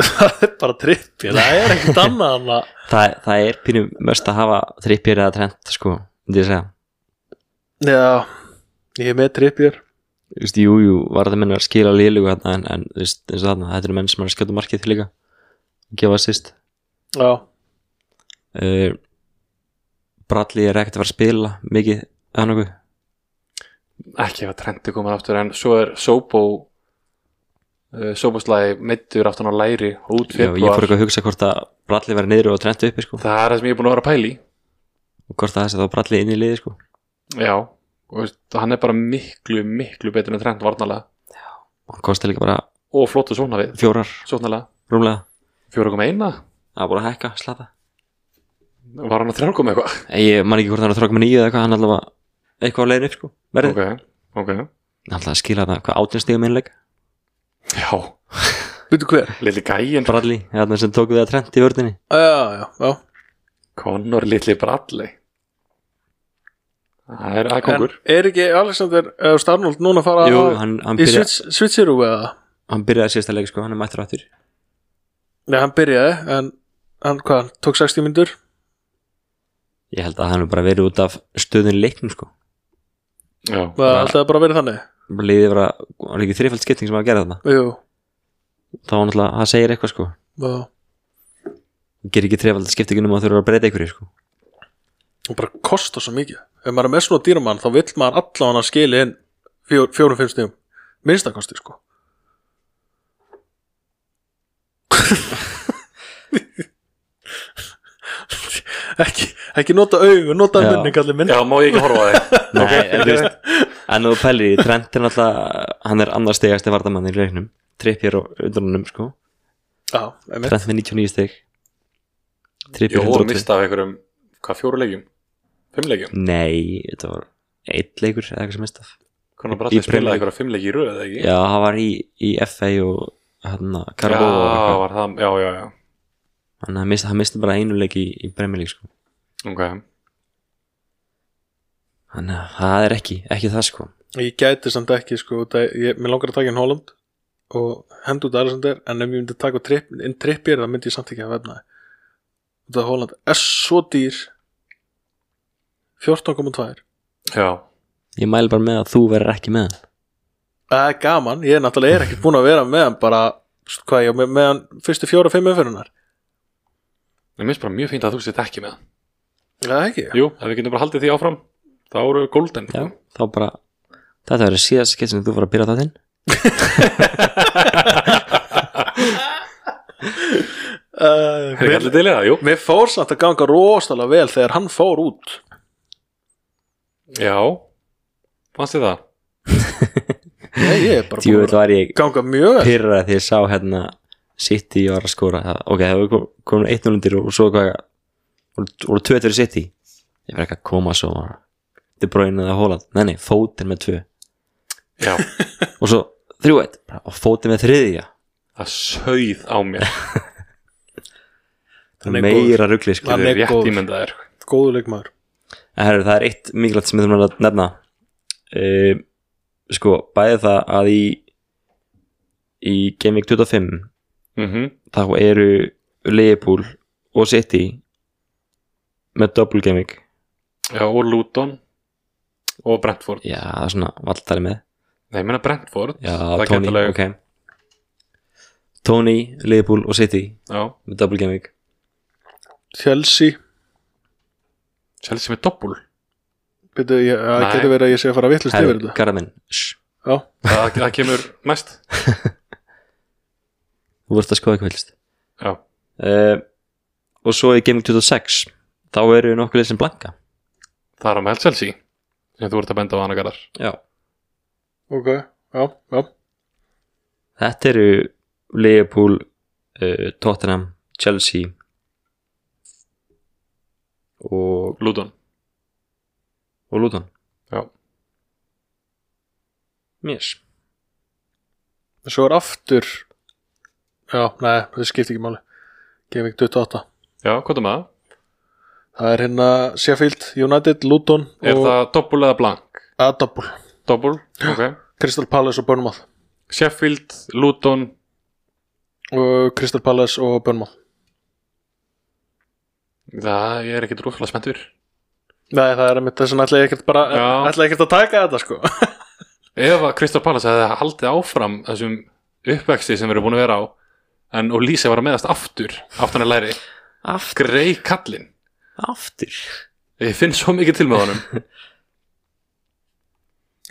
Speaker 1: Það er bara trippjör Það er ekkert annað en að
Speaker 2: það, það er pínum mest að hafa þrippir eða trend sko, myndi ég segja
Speaker 1: Já, ég er með trippjör
Speaker 2: Þú veist, jú, jú, varðamenn er að skila liðlugu hérna, en, en þú veist, eins og þarna, þetta eru menn sem er að skjóta markið til líka og gefa assist
Speaker 1: Já,
Speaker 2: uh, Bradley er ekkert að fara að spila mikið, eða nokkuð
Speaker 3: ekki ef að Trenti komið aftur en svo er Sobo uh, Soboslæði meittur aftan á læri út
Speaker 2: Já, ég fór
Speaker 3: februar
Speaker 2: eitthvað að hugsa hvort að Bradley væri niður og trent uppi sko,
Speaker 3: það er það sem ég er búin að vera að pæli
Speaker 2: og hvort að þessi þá Bradley inn í liði sko.
Speaker 3: já, og veist, hann er bara miklu miklu betur en Trent varnalega
Speaker 2: og hann kosti líka bara
Speaker 3: og flottu svona við,
Speaker 2: fjórar,
Speaker 3: svonalega
Speaker 2: rúmlega
Speaker 3: 4,1
Speaker 2: það er búin að hækka, slata
Speaker 3: var hann að 3 koma eitthvað
Speaker 2: ég man ekki hvort hann er að þróka með nýju eða eitthvað, hann allavega eitthvað á leiðin upp sko, verðið
Speaker 3: ok, ok,
Speaker 2: alltaf að skila það, hvað átjenstíðum innleik
Speaker 3: já,
Speaker 1: veitu hver? Ah,
Speaker 3: lilli gæin
Speaker 2: Bradley, hérna sem tók við að trent í vördinni
Speaker 1: Já, já, já
Speaker 3: Conor lilli Bradley það er aðkongur
Speaker 1: En er ekki Alexander eða þú veist, Arnold núna að fara
Speaker 2: Jú,
Speaker 1: að,
Speaker 2: hann, hann
Speaker 1: í
Speaker 2: byrja-
Speaker 1: Switch- Switcheroo eða?
Speaker 2: hann byrjaði síðasta leik sko, hann er mættur aftur
Speaker 1: Nei, hann byrjaði en hann, hvað, hann tók 60 myndur
Speaker 2: ég held að hann er bara verið út af stöðun leiknum sko
Speaker 3: já,
Speaker 1: Það er alltaf bara verið þannig
Speaker 2: bara liðið var að, var ekki þrifald skipting sem var að gera þarna
Speaker 1: Jú,
Speaker 2: þá var náttúrulega, það segir eitthvað sko
Speaker 1: já
Speaker 2: og gerir ekki trefald skipti ekki um að þurfa að breyta ykkur sko.
Speaker 1: og bara kostar svo mikið ef maður er með svona dýramann þá vill maður allan að skili inn fjórum, fjórum, fimm stíðum minnstakosti sko ekki, ekki nota augu, nota
Speaker 2: Já.
Speaker 1: munni kallir minn
Speaker 3: Já, má ég ekki horfa á þig
Speaker 2: Nei, en þú veist en þú pælir í Trent er náttúrulega hann er annar stegasti vardamann í leiknum trippjör og undanunum sko
Speaker 1: Já, einmitt.
Speaker 2: Trent með 99 steg
Speaker 3: Jó,
Speaker 2: trippjör
Speaker 3: og
Speaker 2: 102
Speaker 3: mista af einhverjum, um hvað, fjóru leikjum? Fimm leikjum?
Speaker 2: Nei, þetta var eitt leikur eða eitthvað sem mest af
Speaker 3: Konan Bradley
Speaker 2: Í Premier
Speaker 3: spilaði
Speaker 2: League.
Speaker 3: einhverja fimm leiki í röð, eða ekki?
Speaker 2: Já, hann var í, í FA og hérna Karbo og
Speaker 3: já,
Speaker 2: eitthvað
Speaker 3: var það, já, já, já
Speaker 2: Þannig að hann misti, hann misti bara einu leik í, í Premier League sko
Speaker 3: Ok,
Speaker 2: Þannig að það er ekki, ekki það sko
Speaker 1: ég gæti samt ekki sko, það, ég, mér langar að taka inn Holland og henda út Alexander en ef ég myndi taka tripp, inn trippir þá myndi ég samt ekki að vefna það Holland er svo dýr 14,2
Speaker 3: já
Speaker 2: Ég mæli bara með að þú verður ekki með hann
Speaker 1: Það er gaman, ég er náttúrulega er ekki búin að vera með hann bara, st- hvað ég, á, með, með hann fyrstu fjóra, fimm umfyrunar
Speaker 3: Mér finnst bara mjög fínt að þú sett ekki með það
Speaker 1: Það er ekki,
Speaker 3: Jú, ef við getum bara haldið því áfram þá eru við golden sko.
Speaker 2: Já, þá bara Þetta verður síðast skeitt sem þú verður að byrja það þinn
Speaker 1: uh,
Speaker 3: Er ekki
Speaker 1: Eh, mér,
Speaker 3: allir til í það, jú
Speaker 1: mér fór samt að ganga rosalega vel þegar hann fór út
Speaker 3: Já, fannst þið það?
Speaker 1: Nei, ég er bara búin
Speaker 2: Djúvel
Speaker 1: að
Speaker 2: var ég
Speaker 1: ganga mjög vel
Speaker 2: pyrra því ég sá hérna City var að skora það, ok, það var komin 1-0 undir og svo hvað voru- voru 2 fyrir City ég verði ekki að koma svo bara, De Bruyne eða Holland nei, nei, fótinn með 2
Speaker 3: Já,
Speaker 2: og svo 3-1 bara, og fótinn með þriðja
Speaker 3: það sauð á mér
Speaker 1: Hann er
Speaker 2: meira ruggli sko
Speaker 1: Hann
Speaker 3: Það
Speaker 1: er
Speaker 3: er rétt
Speaker 1: góður.
Speaker 3: ímyndaðir
Speaker 1: góðu leikmaður
Speaker 2: En herru, það er eitt mikilvægt sem við þurfum að nefna um, sko, bæði það að í í Game Week 25
Speaker 3: mm
Speaker 2: þá eru Leopold og City með double Game Week
Speaker 3: Já, og Luton og Brentford
Speaker 2: já, það er svona valltari með
Speaker 3: Nei, ég meina Brentford
Speaker 2: já,
Speaker 3: það
Speaker 2: Tony,
Speaker 3: gæti alveg-
Speaker 2: ok Tony, Leopold og City
Speaker 3: Já,
Speaker 2: með double Game Week
Speaker 1: Chelsea,
Speaker 3: Chelsea með doppul
Speaker 1: byrju, ég- það
Speaker 3: Nei.
Speaker 1: getur verið að ég sé að fara vittlust yfir
Speaker 2: herru,
Speaker 1: þetta
Speaker 2: Garðaminn, shh,
Speaker 1: Já,
Speaker 3: það, það kemur næst
Speaker 2: þú vorst að skoða eitthvað helst
Speaker 3: Já,
Speaker 2: uh, og svo í Game Week 26 þá eru nokkuð leið sem blanka
Speaker 3: það er á með Chelsea sem þú ert að benda á hana garðar
Speaker 2: já
Speaker 1: ok, já, já
Speaker 2: Þetta eru Liverpool, uh, Tottenham, Chelsea og,
Speaker 3: Luton
Speaker 2: og Luton.
Speaker 3: Já.
Speaker 2: Mér.
Speaker 1: Svo er aftur Já, nei, það skiptir ekki máli Gaming 28
Speaker 3: Já, hvað er með það?
Speaker 1: Það er hérna Sheffield, United, Luton
Speaker 3: Er
Speaker 1: og
Speaker 3: það doppul eða blank?
Speaker 1: Adabul,
Speaker 3: Doppul, ok
Speaker 1: Crystal Palace og Burnmouth
Speaker 3: Sheffield, Luton
Speaker 1: og Crystal Palace og Burnmouth
Speaker 3: Það, ég er ekkert rosalega spenntur
Speaker 1: Nei, það er einmitt þess að ætla ég ekkert bara
Speaker 3: Já.
Speaker 1: ætla ég ekkert að taka þetta sko
Speaker 3: Ef að Kristóf Pallas hefði haldið áfram þessum uppvexti sem við erum búin að vera á en og Lýsa var að meðast aftur aftan að læri,
Speaker 2: Aftur.
Speaker 3: grei kallinn
Speaker 2: Aftur.
Speaker 3: ég finn svo mikið til með honum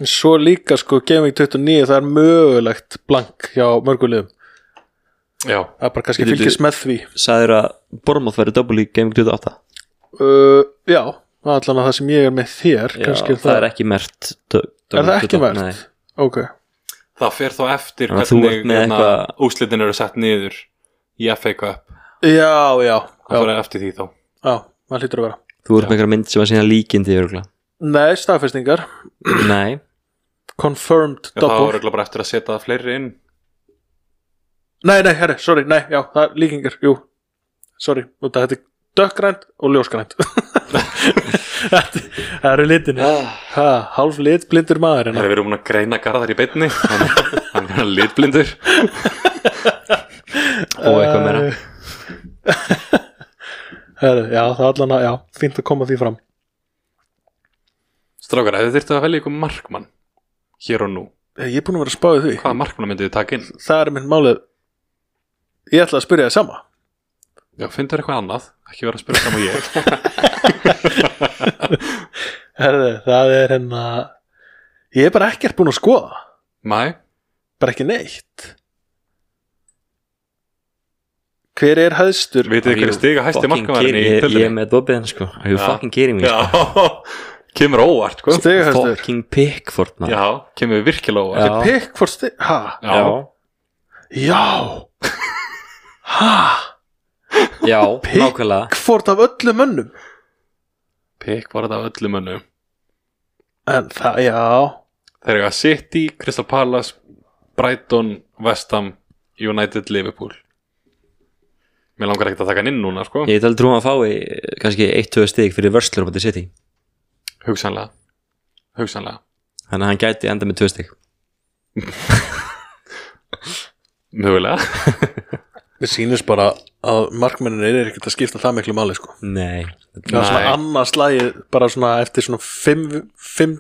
Speaker 1: Svo líka sko Gaming 29 það er mögulegt blank hjá mörgulegum
Speaker 3: Já,
Speaker 1: Það er bara kannski
Speaker 2: Bíddu,
Speaker 1: fylgist með því
Speaker 2: Sæður að Bormoth verður double í Gaming 28.
Speaker 1: uh, Já, það er allan að það sem ég er með þér
Speaker 2: Já,
Speaker 1: kannski
Speaker 2: það, er ekki mert. Er
Speaker 1: Er það ekki verð?
Speaker 2: Nei.
Speaker 1: Ok,
Speaker 3: það fer þá eftir
Speaker 2: Þannig að þú ert með eitthvað-
Speaker 3: úslitin eru sett niður í FA Cup
Speaker 1: já, já
Speaker 3: það
Speaker 1: Já,
Speaker 3: fer eftir því þá
Speaker 1: já það hlýtur að vera
Speaker 2: Þú ert með einhverja mynd sem að sína líkindi örgulega.
Speaker 1: Nei, staðfestingar
Speaker 2: Nei.
Speaker 1: Confirmed
Speaker 3: Já, það
Speaker 1: double
Speaker 3: var örugglega bara eftir að setja fleiri inn
Speaker 1: Nei, nei, herri, sorry, nei, já, það er líkingar, jú Sorry, út að þetta er dökkgrænt og ljósgrænt Þetta það eru litinir
Speaker 3: Ah.
Speaker 1: ha, Hálf lit, blindur maður
Speaker 3: Það
Speaker 1: hérna.
Speaker 3: er verið búin að greina garðar í beinni hann hann er litblindur
Speaker 2: Og eitthvað meira.
Speaker 1: Eh, herri, Já, það er allan að, já, fínt að koma því fram
Speaker 3: Strákar, ef þið þyrftu að velja ykkur markmann hér og nú,
Speaker 1: Eh, Ég er búin að vera að spáði því
Speaker 3: hvaða markmann myndið þið taka inn?
Speaker 1: Það er minn málið Ég ætla að spyrja þið sama
Speaker 3: Já, finnst þér eitthvað annað, ekki vera að spyrja fram á ég
Speaker 1: Herðu, það er hérna Ég er bara ekkert búin að skoða
Speaker 3: Mæ,
Speaker 1: Bara ekki neitt Hver er hæðstur?
Speaker 3: vitið þið hverju stiga hæsti
Speaker 2: Fucking
Speaker 3: markamaðurinn
Speaker 2: kidding, ég,
Speaker 3: í
Speaker 2: ég er
Speaker 3: tildinni?
Speaker 2: með dobiðin sko Are you
Speaker 3: Já.
Speaker 2: fucking kidding me?
Speaker 3: Já, kemur óvart sko.
Speaker 1: Stigahæstur
Speaker 2: Fucking Pickford man
Speaker 3: Já, kemur virkilega
Speaker 2: Já.
Speaker 3: óvart
Speaker 1: Pickford stig Ha?
Speaker 3: Já,
Speaker 1: Já Ha?
Speaker 2: Já,
Speaker 1: Pick-
Speaker 2: nákvæmlega
Speaker 1: Pickford af öllum mönnum
Speaker 3: pikk var þetta öllum mönnum
Speaker 1: En það, já
Speaker 3: Þeir eru að City, Crystal Palace, Brighton, West Ham, United, Liverpool Mér langar ekkert að taka hann inn núna sko,
Speaker 2: Ég get aldrei trúið að hann fái eh, kannski 1-2 stig fyrir vörslur á bæti City
Speaker 3: hugsanlega Hugsanlega
Speaker 2: Þannig að hann gæti enda með 2 stig
Speaker 3: Mögulega
Speaker 1: Mér sýnist bara að markmennin er ekkert að skipta það miklu máli sko
Speaker 2: Nei,
Speaker 1: Það er svona
Speaker 3: Nei.
Speaker 1: annars lagi bara svona eftir svona fimm, fimm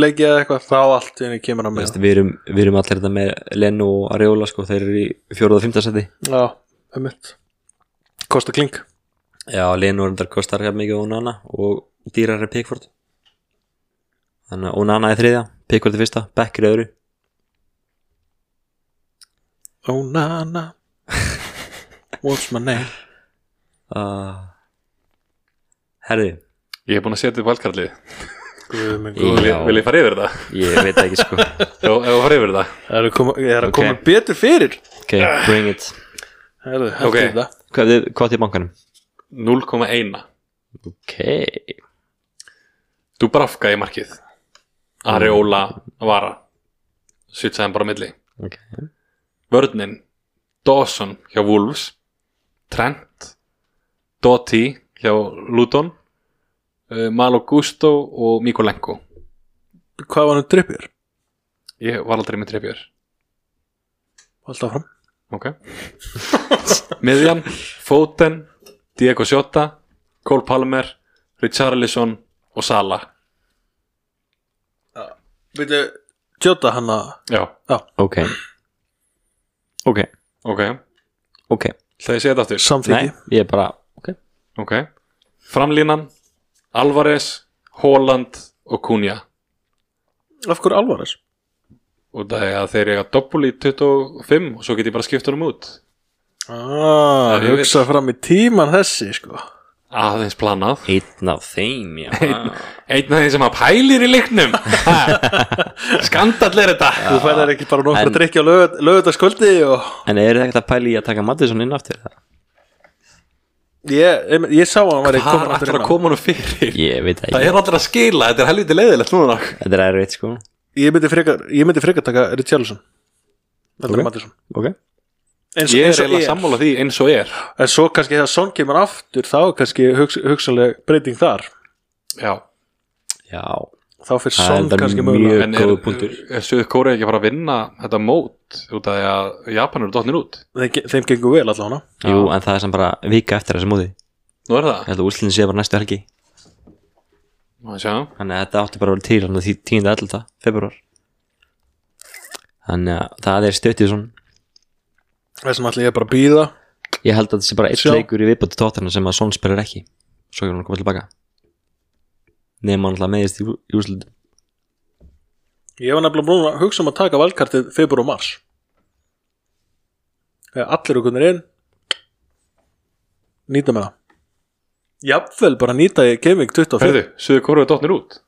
Speaker 1: leiki eða eitthvað þá allt en ég kemur hann með
Speaker 2: Vist, við, erum, við erum allir þetta með Lenu og Areola sko, þeir eru í fjóruða og fymta seti
Speaker 1: Já, um mitt Kosta kling
Speaker 2: Já, Lenu er endar kostar hér mikið og Onana og dýrar er Pickford Þannig að Onana er þriðja, Pickford er fyrsta, Becker er öðru
Speaker 1: Oh na na What's my name
Speaker 2: uh, Herðu,
Speaker 3: Ég hef búin að setja upp valkarlið
Speaker 1: Guð minn
Speaker 2: Já.
Speaker 1: góður.
Speaker 3: Vil ég fara yfir þetta?
Speaker 2: ég veit ekki sko
Speaker 3: Já, ef að fara yfir þetta
Speaker 1: Það er að koma, ég er að
Speaker 2: Ok.
Speaker 1: koma betur fyrir
Speaker 2: Ok, bring it
Speaker 1: Herðu,
Speaker 3: Ok.
Speaker 1: okay. þetta
Speaker 2: Hvað er hvað til bankanum?
Speaker 3: 0,1
Speaker 2: Ok,
Speaker 3: Dubravka í markið Areola Vara Sutsaðan bara á milli
Speaker 2: ok
Speaker 3: Vörninn Dawson hjá Wolves Trent Doty hjá Luton uh, Malo Gusto og Mikolenko
Speaker 1: Hvað var hann drippir?
Speaker 3: Ég var aldrei með trefjör
Speaker 1: Alltaf fram
Speaker 3: Ok Miðjan Foden Diego Sjóta Cole Palmer Richarlison og Sala
Speaker 1: Vilju tjóta hann að
Speaker 3: Já,
Speaker 2: Ok Ok,
Speaker 3: ok
Speaker 2: ok
Speaker 3: Það ég segi þetta aftur
Speaker 1: samþyggi
Speaker 2: Nei, ég er bara Ok,
Speaker 3: Ok Framlínan Alvarez, Holland og Kunja
Speaker 1: Af hverju alvaris?
Speaker 3: og það er að þeir eiga doppul í 25 og svo get ég bara skipt honum út
Speaker 1: Ah,
Speaker 3: Já, ég
Speaker 1: hugsa fram í tíman þessi sko
Speaker 3: aðeins planað
Speaker 2: einn af þeim, já
Speaker 3: einn af þeim sem að pælir í leiknum skandall er þetta
Speaker 1: Þú færðar ekki bara nokkur
Speaker 2: En-
Speaker 1: að drikja lögutaskvöldi og
Speaker 2: En er þetta ekkert að pæli í að taka Mattisson inn aftur?
Speaker 1: Ég, einmitt, ég sá að hann var ekki
Speaker 3: hvað
Speaker 1: komin
Speaker 3: er
Speaker 1: aftur
Speaker 3: alltaf
Speaker 1: inn
Speaker 3: að
Speaker 1: á
Speaker 3: koma honum fyrir
Speaker 2: Ég veit það
Speaker 3: það
Speaker 2: ekki,
Speaker 3: er alltaf að skila, þetta er helviti leiðilegt núna
Speaker 2: þetta er erfitt sko
Speaker 1: Ég myndi frekar, ég myndi frekar taka Richarlison Þetta
Speaker 2: Ok.
Speaker 1: er Mattisson
Speaker 2: Ok,
Speaker 1: eins,
Speaker 3: ég
Speaker 1: eins og
Speaker 3: er eiginlega sammála því eins og er
Speaker 1: En svo kannski þegar Son kemur aftur þá er kannski hugs, hugsanleg breyting þar
Speaker 3: já,
Speaker 2: já
Speaker 1: Þá fyrir
Speaker 2: Það er
Speaker 1: Son
Speaker 2: enda
Speaker 1: kannski
Speaker 2: mjög-
Speaker 1: mögulega
Speaker 3: en er,
Speaker 2: Góður punktur.
Speaker 3: er Suður Kóra ekki að fara að vinna þetta mót út af því að Japan eru dotnir út
Speaker 1: þeim, ge- þeim gengur vel allavega
Speaker 2: Jú, en það er sem bara vika eftir þessu móti Ég
Speaker 3: nú er það,
Speaker 2: held að úrslinni sé bara næstu helgi
Speaker 3: má ég sjá
Speaker 2: Þannig að þetta átti bara að vera til hann að 10. 11. februar Þannig að það er stöttið svona
Speaker 1: Þessum ætla ég bara að býða
Speaker 2: Ég held að þetta sé bara eitt
Speaker 1: Sjá.
Speaker 2: leikur í viðbóti tóttarna sem að Són spyrir ekki Svo er hann að koma tilbaka Nefnum hann alltaf meðist í úrslit
Speaker 1: Ég var nefnilega búin að hugsa um að taka valkartið februar og mars Þegar allir okkur inn Nýta með það Jafnvel bara nýta ég Gaming 25
Speaker 3: Herðu, Suður Kóru er dotnir út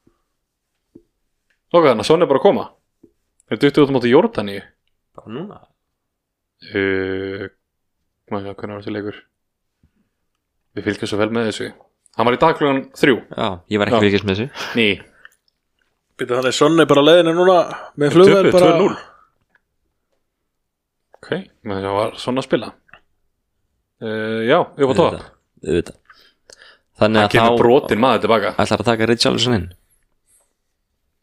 Speaker 3: Lóka þannig, svona er bara að koma Er duttur út á móti Jórdaníu
Speaker 2: Bara núna?
Speaker 3: uh, Mæja, hvernig var þessi leikur? Við fylgjum svo vel með þessu Hann var í dag klugan þrjú
Speaker 2: Já, ég var ekki
Speaker 3: Já.
Speaker 2: fylgjast með þessu
Speaker 3: Ný,
Speaker 1: Býta þannig Sonni bara á leiðinu núna Með flugvel
Speaker 3: töpuðu
Speaker 1: bara
Speaker 3: 2-0. ok, menn það var svona að spila uh, Já, upp á topp
Speaker 2: Auðvitað, auðvitað. Þannig
Speaker 3: Það
Speaker 2: að
Speaker 3: kemur
Speaker 2: þá
Speaker 3: brotin maður tilbaka
Speaker 2: ætlar að taka Richarlison inn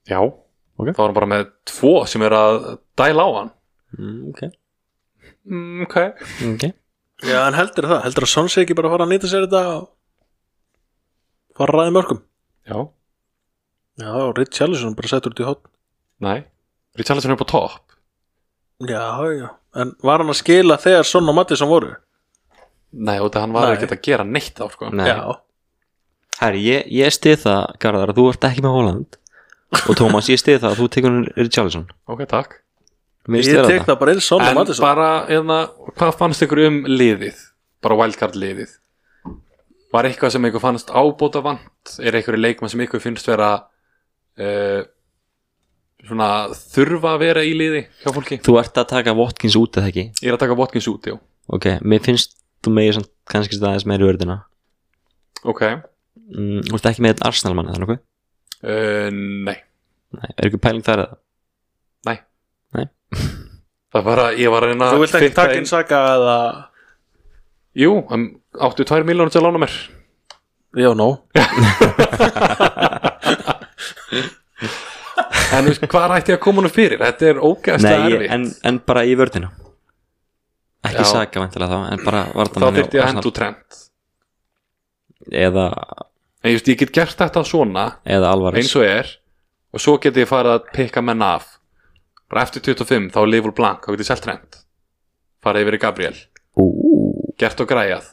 Speaker 3: Já,
Speaker 2: Ok.
Speaker 3: þá var hann bara með tvo sem er að dæla á hann
Speaker 2: mm, Ok,
Speaker 3: mm, Ok,
Speaker 2: ok
Speaker 1: Já, en heldur það, heldur að Sons ekki bara að fara að nýta sér þetta og fara að ræði mörgum
Speaker 3: já,
Speaker 1: Já, og Richarlison bara settur út í hot
Speaker 3: nei Richarlison er upp á topp
Speaker 1: Já, já, en var hann að skila þegar Son og Mattisson voru?
Speaker 3: Nei, og það hann var
Speaker 1: Nei.
Speaker 3: ekki að gera neitt þá sko.
Speaker 2: Nei.
Speaker 1: Já,
Speaker 2: Herri, ég, ég stið það, Garðar, að þú ert ekki með Holland og Tómas, ég stið það að þú tekur hann Richarlison
Speaker 3: Ok, takk
Speaker 2: Mér
Speaker 1: ég
Speaker 2: styður
Speaker 1: tek það bara eins og
Speaker 3: En
Speaker 1: Mattisson
Speaker 3: bara, eða, hvað fannst ykkur um liðið? Bara wildcard liðið Var eitthvað sem ykkur fannst ábóta vant? Er eitthvað leikmann sem ykkur finnst vera uh, svona þurfa að vera í liði hjá fólki?
Speaker 2: Þú ert að taka Watkins út eða ekki
Speaker 3: Ég er að taka Watkins út, já
Speaker 2: Ok, mér finnst þú megið samt kannski staðis meiri vörðina
Speaker 3: Ok,
Speaker 2: mm, Þú ert ekki með einn Arsenal mann eða nokkuð
Speaker 3: uh, nei
Speaker 2: Nei, er ekki pæling þar eða
Speaker 3: Það var að, ég var að reyna
Speaker 1: Þú vilt ekki
Speaker 3: fitta
Speaker 1: taka inn saka eða
Speaker 3: Jú, um, áttu 2 miljónur til að lána mér
Speaker 1: Já, nó
Speaker 3: En þú veist, hvað ætti ég að koma honum fyrir? Þetta er ógæðslega
Speaker 2: Nei, ég,
Speaker 3: erfitt
Speaker 2: en, en bara í vörðina Ekki
Speaker 3: Já.
Speaker 2: saga væntilega þá En bara
Speaker 3: Þá
Speaker 2: vartamann
Speaker 3: þyrfti ég að hendu trend
Speaker 2: Eða,
Speaker 3: En ég, veist, ég get gert þetta svona
Speaker 2: eða Alvarez
Speaker 3: eins og er og svo geti ég farið að pikka menn af bara eftir 25 þá er Liverpool blank þá geti ég selt trend farið yfir í Gabriel,
Speaker 2: Ú,
Speaker 3: gert og græjað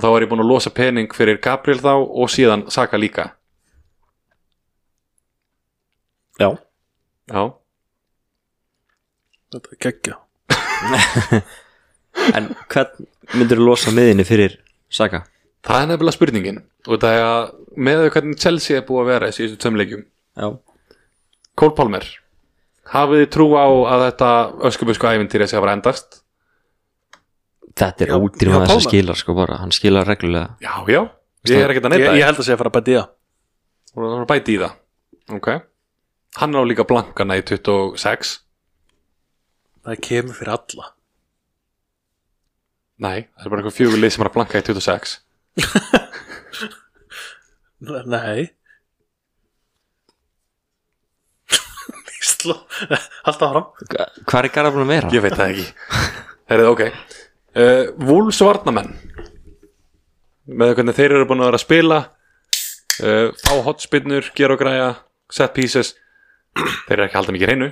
Speaker 3: þá er ég búin að losa pening fyrir Gabriel þá og síðan Saka líka
Speaker 2: Já,
Speaker 3: já,
Speaker 1: Þetta er geggja
Speaker 2: en hvern myndir þú losa miðinni fyrir Saga?
Speaker 3: það er nefnilega spurningin og það er að með þau hvernig Chelsea er búið að vera í síðustu tömleikjum
Speaker 2: Já
Speaker 3: Cole Palmer hafið þið trú á að þetta öskubusku æfintýri sé að vera endast
Speaker 2: Þetta er
Speaker 1: Já,
Speaker 2: ódýrum
Speaker 1: já,
Speaker 2: að þessi
Speaker 1: Pálmar.
Speaker 2: skilar sko bara Hann skilar reglulega
Speaker 3: já, já, ég er ekkert að
Speaker 1: ég,
Speaker 3: neyta
Speaker 1: ég held að sé að fara að bæti það
Speaker 3: og það var að bæti í það ok hann á líka blankana í 26
Speaker 1: Það kemur fyrir alla
Speaker 3: Nei, það er bara eitthvað fjögur lið sem er að blanka í 26
Speaker 1: N- Nei Ísla Alltaf fram
Speaker 2: Hvað er Garðar búin að vera?
Speaker 3: Ég veit það ekki Herrið, ok uh, Wolves varnamenn Með hvernig þeir eru búin að vera að spila uh, Fá hotspinnur, gera og græja Set pieces Þeir eru ekki að halda mikið reynu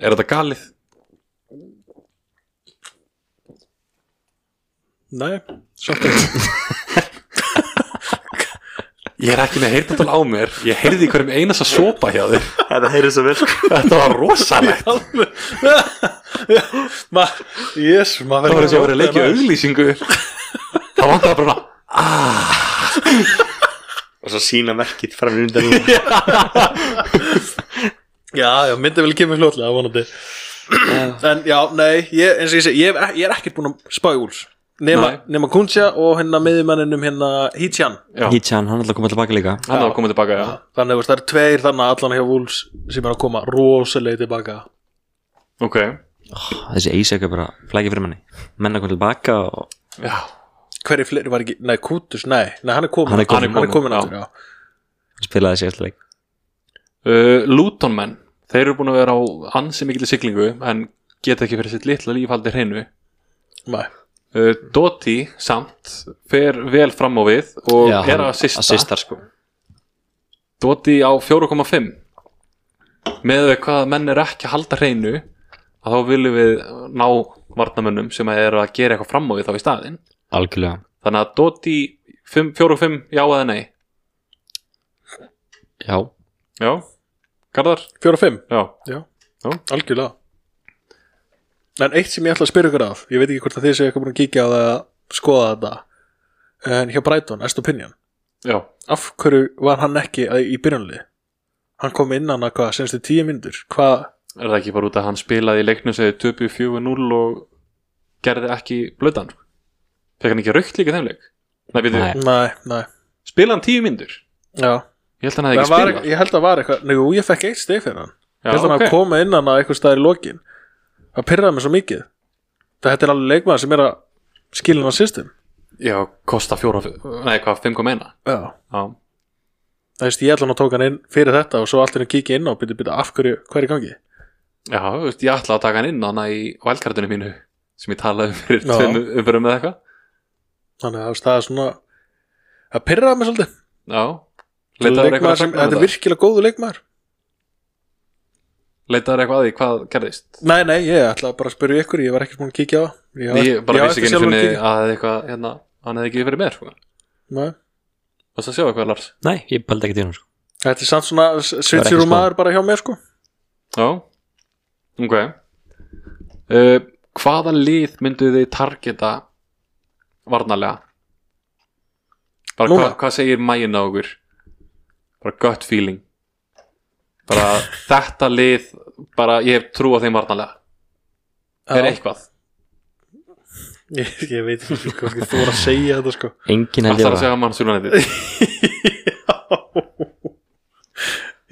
Speaker 3: Er þetta galið?
Speaker 1: Nei, svolítið ekki.
Speaker 3: Ég er ekki með heyrðatal á mér Ég heyrði í hverjum einasta sopa hjá þér
Speaker 2: Þetta heyrið svo vel
Speaker 3: Þetta var rosalegt
Speaker 1: Ma, Jésu, maður
Speaker 3: Það var
Speaker 1: verður
Speaker 3: eins og að vera að leikja auglýsingu Það vantaði bara svona,
Speaker 2: Og svo sína merkið fram í undan núna.
Speaker 1: Já, já, myndi vel kemur hljóðlega, vonandi En já, nei, ég, eins og ég segi Ég, hef- ég er ekkert búin að spá í úls Nema,
Speaker 3: Nei.
Speaker 1: nema Kuntsja og hérna miðjumanninum hérna Hítjan
Speaker 3: Já,
Speaker 2: Hichan, hann er að koma tilbaka líka
Speaker 3: hann var að koma tilbaka já.
Speaker 1: Þannig að þú veist, það eru tveir þannig allan hjá Wolves sem er að koma rosalega tilbaka
Speaker 3: Ok,
Speaker 2: Þessi Ísak er bara flækið fyrir manni Menna kom tilbaka og
Speaker 3: já
Speaker 1: Hverju fleiri var ekki, nei, Kutus, nei, nei, hann er komin
Speaker 2: Hann er kominn.
Speaker 1: hann er komin
Speaker 3: Já.
Speaker 1: aftur, já
Speaker 2: spilaði þessi eftir leik
Speaker 3: Uh, Lutonmenn, þeir eru búin að vera á ansi mikil siglingu en geta ekki fyrir sitt litla líf haldið hreinu
Speaker 1: Nei,
Speaker 3: uh, Doti samt fer vel fram á við og
Speaker 2: Já,
Speaker 3: er
Speaker 2: hann-
Speaker 3: að assista,
Speaker 2: assistar, sko.
Speaker 3: Doti á 4,5 með við hvað menn er ekki að halda hreinu að þá viljum við ná varnamönnum sem eru að gera eitthvað fram á við þá í staðinn
Speaker 2: Algjörlega
Speaker 3: þannig að Doti 4,5 já eða nei
Speaker 2: Já,
Speaker 3: já, Garðar,
Speaker 1: fjóra og fimm,
Speaker 3: já,
Speaker 1: já,
Speaker 3: Já.
Speaker 1: algjörlega En eitt sem ég ætla að spyrja ykkur að ég veit ekki hvort að þið séu eitthvað búin að kíkja á það að skoða þetta en hjá Brighton, Estopinion
Speaker 3: já
Speaker 1: af hverju var hann ekki að- í byrjunli hann kom inn hann að hvað, senstu tíu myndur hvað,
Speaker 3: er það ekki bara út að hann spilaði í leiknum sem þið töpu 4-0 og gerði ekki blöðan fekk hann ekki raukt líka í þeim leik Nei, byrju,
Speaker 2: Nei.
Speaker 1: nei, nei,
Speaker 3: spilaði hann 10 myndur ég
Speaker 1: já
Speaker 3: held að hann
Speaker 1: Það
Speaker 3: hefði ekki
Speaker 1: var,
Speaker 3: spilað
Speaker 1: ég held að var eitthvað, njú, ég fekk eitt stið fyrir hann
Speaker 3: Já,
Speaker 1: Ég held að hann
Speaker 3: ok.
Speaker 1: að koma inn hann að eitthvað staðar í lokin Það pyrraði mig svo mikið Þetta er alveg leikmaður sem er að skilja hann system
Speaker 3: já, kosta 4, nei hvað, 5,1
Speaker 1: Já
Speaker 3: já,
Speaker 1: Það veist, ég ætla hann að tóka hann inn fyrir þetta og svo allt henni kikið inn á byrja byrja af hverju, hverju gangi
Speaker 3: já, þú veist, ég ætla að taka hann inn hana í valkartinu mínu sem ég talaði um fyrir
Speaker 1: Já.
Speaker 3: tveim umfyrum með eitthvað
Speaker 1: Þannig að þú veist, það er svona Það pyrraði mig svolítið
Speaker 3: já, leitaður
Speaker 1: Leikmaður
Speaker 3: einhverja
Speaker 1: sem,
Speaker 3: sagna um
Speaker 1: Þetta er
Speaker 3: þetta?
Speaker 1: virkilega góðu leikmaður
Speaker 3: leitaður eitthvað að því hvað gerðist
Speaker 1: Nei, nei, ég ætla bara að spyrja ykkur, ég var ekkert múin að kíkja á það. Ég,
Speaker 3: ég bara vissi ekki einu
Speaker 1: sjálfur
Speaker 3: sinni
Speaker 1: kíkja.
Speaker 3: að það er eitthvað hérna, hann hefði ekki verið með sko.
Speaker 1: Nei.
Speaker 3: Varst að sjá eitthvað Lars?
Speaker 2: Nei, ég baldi ekki til hún sko.
Speaker 1: Þetta er samt svona
Speaker 2: ekki
Speaker 1: svitsir og
Speaker 2: skoðað.
Speaker 1: maður bara hjá mér sko
Speaker 3: Já, ok uh, Hvaða lið myndu þið targeta varnarlega? Bara
Speaker 1: Núna?
Speaker 3: hvað, hvað segir mæin á okkur? Bara gut feeling Bara þetta lið bara ég hef trú á þeim varnarlega Það er
Speaker 1: Já.
Speaker 3: eitthvað
Speaker 1: Ég, ég veit ekki hvað þú voru að segja þetta sko
Speaker 2: Engin held
Speaker 3: Það þarf
Speaker 2: ég
Speaker 3: að
Speaker 2: var
Speaker 3: segja mann súlanetið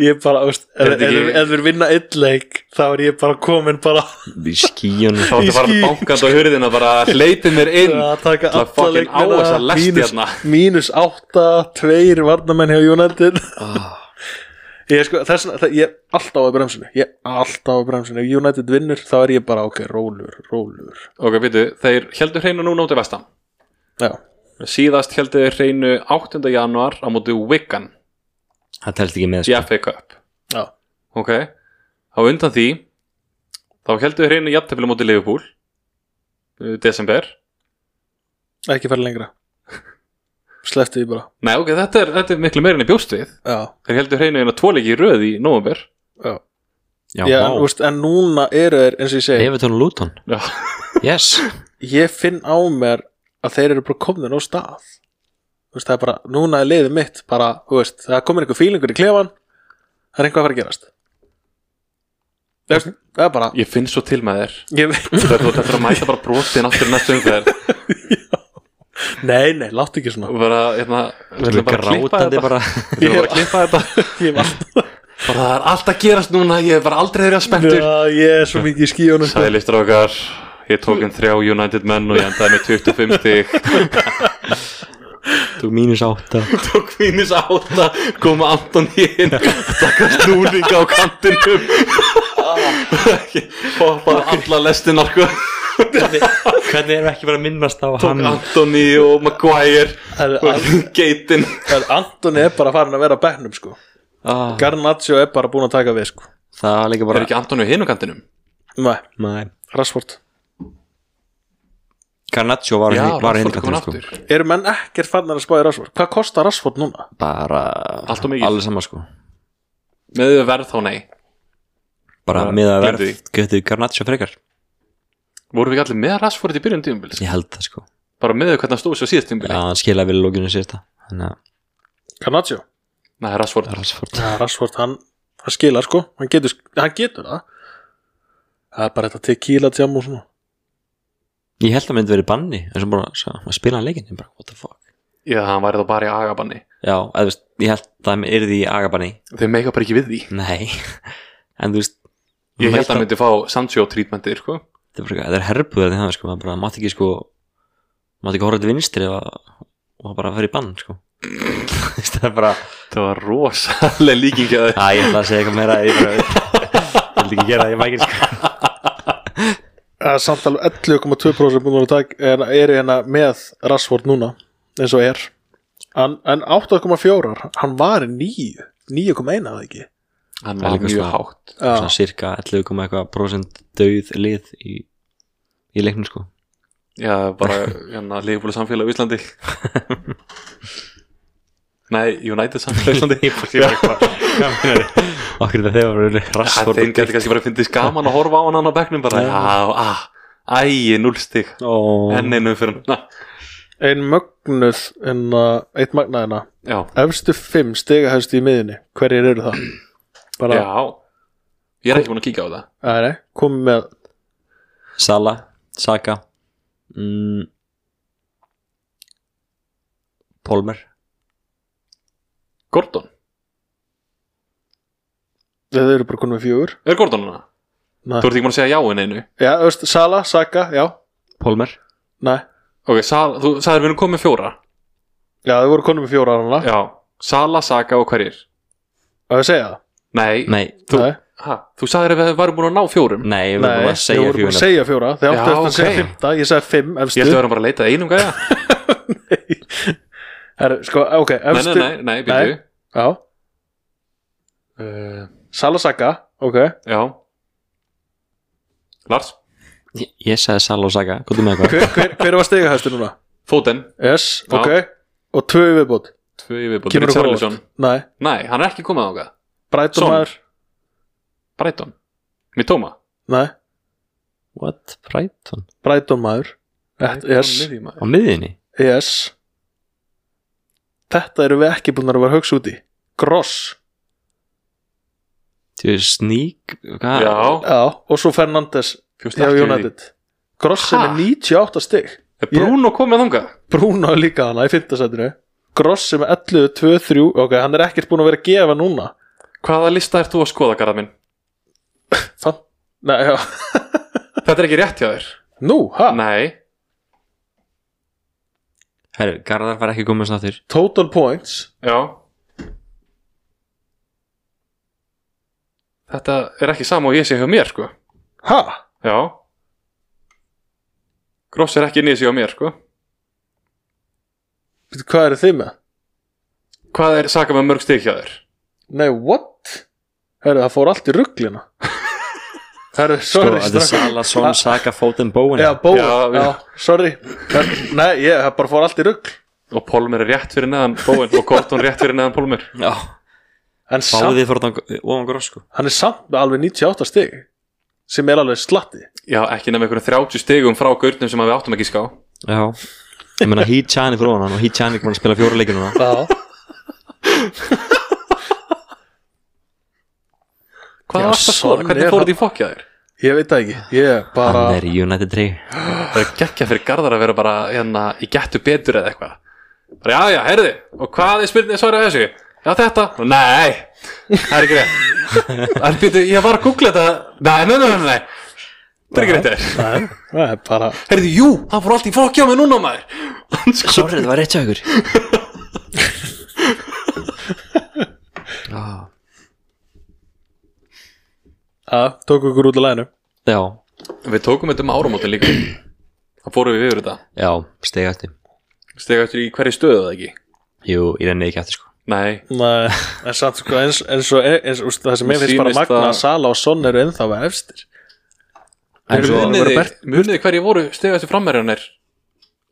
Speaker 1: Ég bara, veist, ef,
Speaker 3: Er þetta
Speaker 1: ef,
Speaker 3: ekki-
Speaker 1: ef, ef við vinna einn leik þá er ég bara komin bara
Speaker 2: í skíunum
Speaker 3: Þá ertu bara
Speaker 1: skýt.
Speaker 3: bankand á hurðina bara hleypið mér inn
Speaker 1: að taka
Speaker 3: til að
Speaker 1: alla
Speaker 3: fucking á
Speaker 1: leikmina
Speaker 3: þessa lest
Speaker 1: mínus,
Speaker 3: hérna
Speaker 1: mínus átta, tveir varnamenn hjá United
Speaker 2: Ah.
Speaker 1: ég, sko, þess, vegna- það, ég er alltaf á bremsinu ég er alltaf á bremsinu, ef United vinnur þá er ég bara, ok, rólur, rólur
Speaker 3: Ok, býtu, þeir heldur hreinu núna út í vestam
Speaker 1: já,
Speaker 3: Síðast heldur þeir hreinu 8. januar á móti Wigan
Speaker 2: Það telst ekki með
Speaker 3: í
Speaker 2: sko.
Speaker 3: FA Cup
Speaker 1: já,
Speaker 3: ok, á undan því þá heldur við hreinu jafntefli á móti Liverpool uh, desember
Speaker 1: ekki fara lengra slefti því bara
Speaker 3: nei ok, þetta er, þetta er miklu meira enn í bjóst við
Speaker 1: já,
Speaker 3: þeir heldur hreinu einu tvoleiki í röð í november
Speaker 1: já
Speaker 2: Já,
Speaker 1: Já,
Speaker 2: já
Speaker 1: en, úst, eh, en núna eru þeir, eins og ég segi
Speaker 2: Evertón og Luton
Speaker 3: Já.
Speaker 2: Yes
Speaker 1: Ég finn á mér að þeir eru bara komnir á stað úst, Það er bara, núna er liðið mitt bara, þú veist, það er komin einhver fílingur í klefan Það er einhvað að fara að gerast Það er- það er bara
Speaker 3: ég finn svo til með þér
Speaker 1: ég,
Speaker 3: þetta er þetta er að mæta bara brotin aftur í næstu umferð
Speaker 1: Nei, nei, láttu ekki svona
Speaker 3: og bara, hérna, við ætlum bara að klippa
Speaker 2: Grátandi
Speaker 3: þetta
Speaker 2: bara
Speaker 3: við ætlum bara að klippa þetta
Speaker 1: Ég, var,
Speaker 3: bara það er allt að gerast núna, ég er bara aldrei þeirra spenntur
Speaker 1: Já, ég er svo mikið í skíunum sko.
Speaker 3: sælistur okkar ég tók um þrjá United menn og ég endaði með 25 stík
Speaker 2: Þú mínus átta
Speaker 3: tók mínus átta koma Anton inn taka snúninga á kantinum poppaði alla lestinar sko.
Speaker 2: Hvernig erum við ekki bara að minnast á
Speaker 3: tók
Speaker 2: hann
Speaker 3: Antoni og Maguire
Speaker 1: Það er-
Speaker 3: og geitin
Speaker 1: það er- Antoni er bara farin að vera á bekknum sko.
Speaker 2: ah,
Speaker 1: Garnaccio er bara búin að taka við sko.
Speaker 2: Það var líka bara
Speaker 3: er ekki Antoni á hinu kantinum?
Speaker 1: Nei,
Speaker 2: Nei
Speaker 1: rassvort
Speaker 2: Garnaccio var
Speaker 3: já,
Speaker 2: henni var henni
Speaker 3: Rashford er komin
Speaker 2: sko.
Speaker 3: aftur
Speaker 1: Eru menn ekkert farnir að spá í rassvort? Hvað kostar rassvort núna?
Speaker 2: Bara
Speaker 3: Allt of mikið.
Speaker 2: Allir sama sko
Speaker 3: með verð þá nei
Speaker 2: Bara
Speaker 3: Bara
Speaker 2: með að
Speaker 3: gleymdu
Speaker 2: verð Getur Garnaccio frekar
Speaker 3: vorum við ekki allir með Rashford í byrjun tímubils
Speaker 2: Ég held það sko
Speaker 3: bara með hvernig hann stóð svo síðast
Speaker 2: Já,
Speaker 3: tímubili
Speaker 2: hann skilaði vel lókinu sérsta Þannig að
Speaker 1: Garnaccio?
Speaker 3: nei, Rashford
Speaker 2: það er alls fórt
Speaker 1: Já, Rashford, hann, hann skilar sko hann getur, hann getur það það er bara þetta tequila jam og svona
Speaker 2: Ég held að myndi verið banni En svo bara sá, að spila hann leikinn Ég bara what the fuck
Speaker 3: já, hann væri þá bara í agabanni
Speaker 2: Já, eða þú veist Ég held að hann yrði í agabanni
Speaker 3: þeir meika bara ekki við því
Speaker 2: Nei En þú veist
Speaker 3: ég held
Speaker 2: mætti-
Speaker 3: að hann myndi fá Sancho trítmentir sko.
Speaker 2: þetta er bara eitthvað- þetta er herbuðar því það sko, maður bara mátt ekki sko mátt ekki horfa til vinstri og, og það bara að í bann sko Þú veist, það er bara
Speaker 3: það var rosalega líkingið
Speaker 2: að ég ætla að segja eitthvað meira ég bara ég vildi ekki gera það, ég mækir sko
Speaker 1: Það er samt alveg 11,2% búin að taka en eru hérna með Rashford núna eins og er en, en 8,4 hann var í 9 9,1 að ekki
Speaker 3: hann
Speaker 2: Það er
Speaker 3: var
Speaker 2: líka
Speaker 3: mjög
Speaker 2: svona-
Speaker 3: hátt
Speaker 2: svona
Speaker 1: já,
Speaker 2: cirka 11 koma eitthvað prosent döð lið í, í leiknum sko
Speaker 3: já, bara hérna Liverpool samfélag á Íslandi nei, United samfélag á Íslandi Já,
Speaker 2: okkur þetta þegar var
Speaker 3: það
Speaker 2: rassfór
Speaker 3: þeim getur kannski bara fyndist gaman að horfa á hann á bekknum bara,
Speaker 2: Já.
Speaker 3: já, ah, æi, núlstig enn einu fyrir hann
Speaker 1: ein mögnuð en uh, eitt magnaðina
Speaker 3: já,
Speaker 1: efstu 5 stegahæstu í miðinni hverjir eru það? bara,
Speaker 3: já ég er ekki búin að kíka á það
Speaker 1: Nei, nei, komið með
Speaker 2: Sala, Saka mm, Polmer
Speaker 3: Gordon,
Speaker 1: þau eru bara konum með fjögur
Speaker 3: er Gordon hana?
Speaker 1: Nei.
Speaker 3: þú ert ekki búin að segja já en einu
Speaker 1: já, þú veist, Sala, Saka, já,
Speaker 2: Polmer
Speaker 1: nei
Speaker 3: ok, Sal, þú sagðir við erum komið með fjóra
Speaker 1: Já, þau voru konum með fjóra ára hana
Speaker 3: já, Sala, Saka og hverjir
Speaker 1: Það er að segja það
Speaker 3: nei,
Speaker 2: Nei,
Speaker 3: Þú-
Speaker 1: Nei,
Speaker 3: Ha, þú sagðir að við varum búin að ná fjórum
Speaker 2: nei,
Speaker 1: nei,
Speaker 2: við vorum að
Speaker 1: ég
Speaker 2: segja
Speaker 1: voru búin að
Speaker 2: fjóðunar
Speaker 1: segja fjóra Þið
Speaker 3: Já,
Speaker 1: áttu eftir að segja
Speaker 3: ok.
Speaker 1: fymta, ég sagði fimm
Speaker 3: ég
Speaker 1: efstu
Speaker 3: held að við varum bara að leita að einum gæja
Speaker 1: Herru, Sko, ok,
Speaker 3: Nei,
Speaker 1: efstu
Speaker 3: nei, nei, nei, byrju
Speaker 1: Já,
Speaker 3: uh,
Speaker 1: Salasaka, ok
Speaker 3: Já, Lars,
Speaker 2: Ég, ég sagði Sala og Saga, hvað með eitthvað?
Speaker 1: hver, hver, hver var stegahæstu núna?
Speaker 3: Foden
Speaker 1: Yes,
Speaker 3: Já.
Speaker 1: ok Og tvö í viðbót
Speaker 3: Tvö yfirbúð,
Speaker 1: Kemur okkur á
Speaker 3: Richarlison
Speaker 1: óvart. Nei,
Speaker 3: Nei, hann er ekki komið á það
Speaker 1: Brighton
Speaker 3: Son.
Speaker 1: maður
Speaker 3: Brighton Mitoma
Speaker 1: Nei,
Speaker 2: What? Brighton?
Speaker 1: Brighton maður Þetta- Yes,
Speaker 2: Á miðinni?
Speaker 1: yes Þetta eru við ekki búin að vera að hugsa út í Gross,
Speaker 2: Þú veist, sník? Hvað?
Speaker 3: Já,
Speaker 1: já, og svo Fernandes Já, United Gross er
Speaker 3: Ha?
Speaker 1: með 98 stig
Speaker 3: Er Bruno komið þangað?
Speaker 1: Bruno er líka hana í fintasætinu Gross er með 11, 2, 3 Ok, hann er ekkert búin að vera að gefa núna
Speaker 3: Hvaða lista ert þú að skoða, garðar minn?
Speaker 1: Fan, nei, já
Speaker 3: Þetta er ekki rétt hjá þér
Speaker 1: Nú, ha,
Speaker 3: Nei,
Speaker 2: Herru, Garðar var ekki komið snáttur.
Speaker 1: total points
Speaker 3: já Þetta er ekki sama og ég sé hjá mér, sko
Speaker 1: Ha,
Speaker 3: Já Gross er ekki inni í sig hjá mér, sko
Speaker 1: Veitu, hvað eru þið með?
Speaker 3: Hvað er saka með mörg stig hjá þér?
Speaker 1: Nei, what? Herru, það fór allt í rugglina Herru, sorry
Speaker 2: Sko, að þið
Speaker 1: strákar.
Speaker 2: Sala, Son, Saga, Foden, Bowen.
Speaker 1: Já, bóð,
Speaker 3: Já,
Speaker 1: já,
Speaker 3: við-
Speaker 1: sorry Herru, Nei, ég, það bara fór allt í ruggl
Speaker 3: Og Pólmer er rétt fyrir neðan Bóin og Gordon rétt fyrir neðan Pólmer
Speaker 2: Já.
Speaker 1: En samt,
Speaker 2: Báðið fórðan ofan gróð, sko.
Speaker 1: hann er samt með alveg 98 stig sem er alveg slatti
Speaker 3: Já, ekki nefnir einhverjum 30 stigum frá gaurnum sem að við áttum ekki ská
Speaker 2: Já. Ég meina, Hí Chani fyrir ofan hann og Hí Chani er búin að spila fjóra leikir núna.
Speaker 1: Já,
Speaker 3: Hvað
Speaker 1: Já,
Speaker 3: varst að skoða?
Speaker 1: Son
Speaker 3: Hvernig
Speaker 1: er
Speaker 3: fór
Speaker 1: hann-
Speaker 3: þetta í fokkja þér?
Speaker 1: ég veit það ekki Ég bara,
Speaker 2: Hann er í United 3.
Speaker 3: Það er gekkja fyrir garðar að vera bara hérna, í gettu betur eða eitthvað bara, Já, já, heyrðu, og hvað er spyrnið svarið á þessu? Já, þetta? Nei, það er ekki rétt En býtu, ég var að googla þetta Nei, nei, nei, nei, nei Það er ekki rétt þér
Speaker 1: nei, það er bara
Speaker 3: Heyrðu, jú, hann fór allt í fokkja á mig núna maður Sko,
Speaker 2: Sorry, það var rétt hjá ykkur. Já.
Speaker 1: Já, tók ykkur út af læginu
Speaker 2: Já.
Speaker 3: Við tókum þetta um áramótin líka Það fórum við yfir þetta
Speaker 2: Já, stegi eftir.
Speaker 3: Stega eftir í hverju stöðu það ekki
Speaker 2: Jú, ég renni ekki eftir, sko.
Speaker 3: Nei,
Speaker 1: Nei, en samt sko eins, eins og eins, úst, það sem
Speaker 3: Mér
Speaker 1: ég finnst bara
Speaker 3: sýnist
Speaker 1: magna
Speaker 3: að-
Speaker 1: að Sala og Son eru ennþá að efstir
Speaker 2: En
Speaker 1: Eru
Speaker 2: svo-
Speaker 1: við-
Speaker 3: munið
Speaker 1: voru
Speaker 3: þið-
Speaker 1: Bert-
Speaker 3: munið þið hverju voru stega eftir frammerjarnir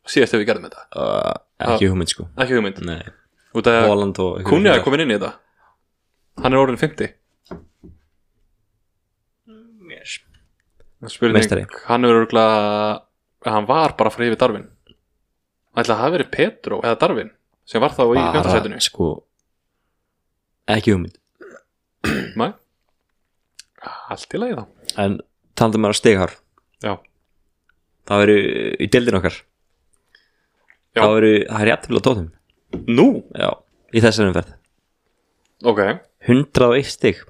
Speaker 3: síðast ef við gerðum þetta
Speaker 2: Uh, ekki hugmynd, sko.
Speaker 3: Ekki hugmynd
Speaker 2: Nei.
Speaker 3: Út af
Speaker 2: Holland og...
Speaker 3: Kunja er komin inn í þetta Hann er orðin 50
Speaker 2: Yes.
Speaker 3: Spurning,
Speaker 2: Meistari.
Speaker 3: Hann er örgulega Hann var bara frá yfir Darvin Ætla að hafa verið Petro eða Darvin sem var þá í
Speaker 2: bara
Speaker 3: fjöndasætinu
Speaker 2: sko ekki hugmynd
Speaker 3: Allt í lagi þá
Speaker 2: en um talandum maður á steghár
Speaker 3: Já.
Speaker 2: það eru í deildin okkar
Speaker 3: Já.
Speaker 2: það eru það er jættfél á tóðum
Speaker 3: Nú,
Speaker 2: já í þessari umferð
Speaker 3: ok
Speaker 2: 101 stig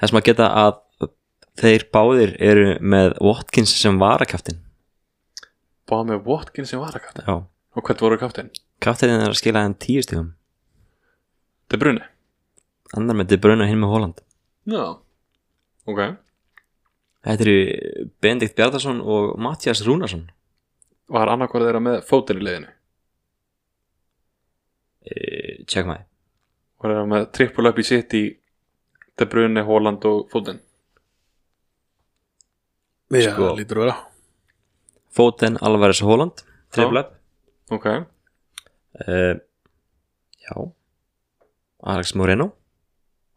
Speaker 2: þess maður geta að þeir báðir eru með Watkins sem varakaftin
Speaker 3: Báða með Watkins sem var að kaftin
Speaker 2: já
Speaker 3: Og hvernig voru kaftin?
Speaker 2: kaftin er að skila hann 10 stigum
Speaker 3: De Bruyne
Speaker 2: annar með De Bruyne og hinn með Holland
Speaker 3: Já Ok
Speaker 2: þetta eru Benedikt Bjardarsson og Mattias Rúnarsson
Speaker 3: Var annarkvörð þeirra með fótinn í liðinu
Speaker 2: e, check my
Speaker 3: Var þeirra með trippul upp í sitt í De Bruyne, Holland og fótinn
Speaker 1: Já,
Speaker 2: Sko.
Speaker 1: lítur að vera
Speaker 2: Foden, Alvarez og Holland Treflöp
Speaker 3: Ok
Speaker 2: uh, Já Alex Moreno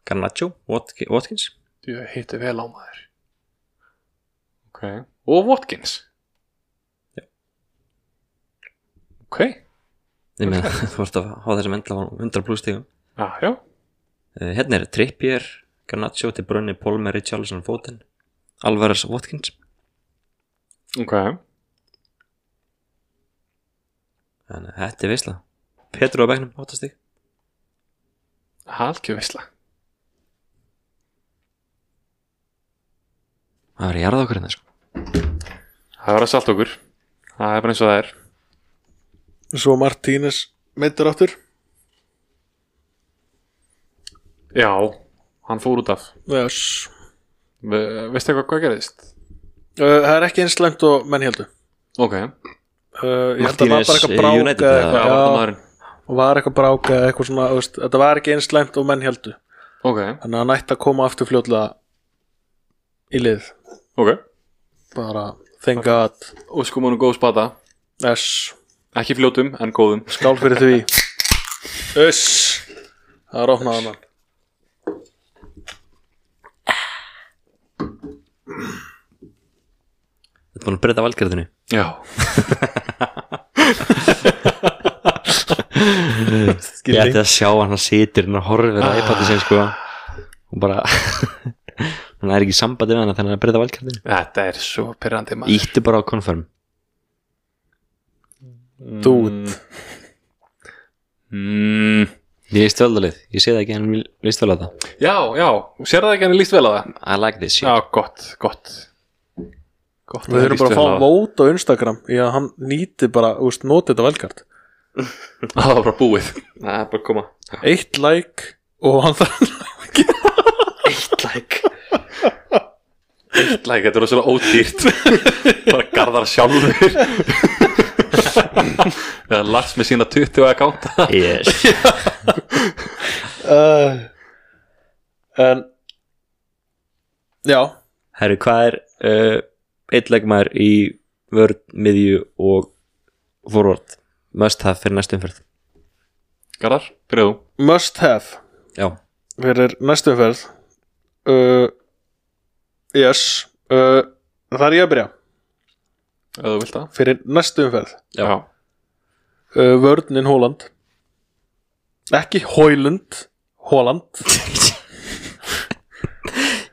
Speaker 2: Garnacho, Watk- Watkins
Speaker 3: Þú hitti vel á maður Ok Og Watkins Ok
Speaker 2: Ég meina, þú vorst að hafa þessum endla 100 pluss stígum
Speaker 3: Já, Ah, já
Speaker 2: uh, Hérna er Trippier, Garnacho til Brunni, Polmer, Richarlison, Foden Alvarez, Watkins
Speaker 3: Ok
Speaker 2: Þannig að þetta er veisla Petru á bekknum, 8 stíg
Speaker 3: Halkjöf veisla
Speaker 2: Það er jarða okkur hérna sko
Speaker 3: Það var að salta okkur Það er bara eins og það er
Speaker 1: Svo Martínez meittur áttur
Speaker 3: Já Hann fór út af
Speaker 1: yes.
Speaker 3: Ve Veistu eitthvað hvað gerðist?
Speaker 1: uh, Það er ekki eins slæmt og menn heldur
Speaker 3: Ok
Speaker 1: uh, Ég held að það var
Speaker 2: Martínez,
Speaker 1: bara
Speaker 2: eh,
Speaker 1: eitthvað brák
Speaker 2: United
Speaker 1: eða
Speaker 2: eða?
Speaker 3: Já, var þetta
Speaker 1: eitthvað,
Speaker 3: maðurinn
Speaker 1: já, og var eitthvað brák eða eitthvað svona, þú veist, þetta var ekki eins slæmt og menn heldur
Speaker 3: Ok
Speaker 1: Þannig að hann ætti að koma aftur fljótlega í lið
Speaker 3: ok
Speaker 1: bara thank god
Speaker 3: og sko múnum góð spata
Speaker 1: S,
Speaker 3: ekki fljótum en góðum
Speaker 1: skál fyrir því S það er opnað hann
Speaker 2: Þetta er búin að breyta valgjörðinu
Speaker 3: já
Speaker 2: Ég
Speaker 1: skilning
Speaker 2: ætti að sjá hann að situr hann að horfa á iPad-i sinn sko og bara hann er ekki í sambandi við hann þannig að breyta valgjörðinu
Speaker 3: þetta er svo pyrrandi
Speaker 2: Íttu bara á confirm
Speaker 1: Dude.
Speaker 3: mm.
Speaker 2: Ég veist völdalið, ég sé það ekki en mér veist vel á það
Speaker 3: já, já, sér það ekki henni líst vel á það
Speaker 2: I like this shit
Speaker 3: já, gott, gott gott
Speaker 1: við þurfum bara að fá vót á Instagram í að hann nýti bara, úst, noti þetta velkart
Speaker 3: það var bara búið
Speaker 2: Það er bara að koma
Speaker 1: eitt like og hann þarf
Speaker 3: eitt læk eitt læk, þetta er rosalega ódýrt bara garðar sjálfur eða Lars með sína 20 akkánta
Speaker 2: Yes
Speaker 1: uh, en já,
Speaker 2: Herru, hvað er uh, eitt leikmaður í vörð, miðju og forward must have fyrir næstu umferð
Speaker 3: garðar, byrjaðu
Speaker 1: must have
Speaker 2: Já,
Speaker 1: fyrir næstu umferð uh, yes uh, það er ég að byrja
Speaker 3: ef þú vilt það
Speaker 1: fyrir næstu umferð
Speaker 2: Já.
Speaker 1: uh, vörninn Hóland ekki Hóland Hóland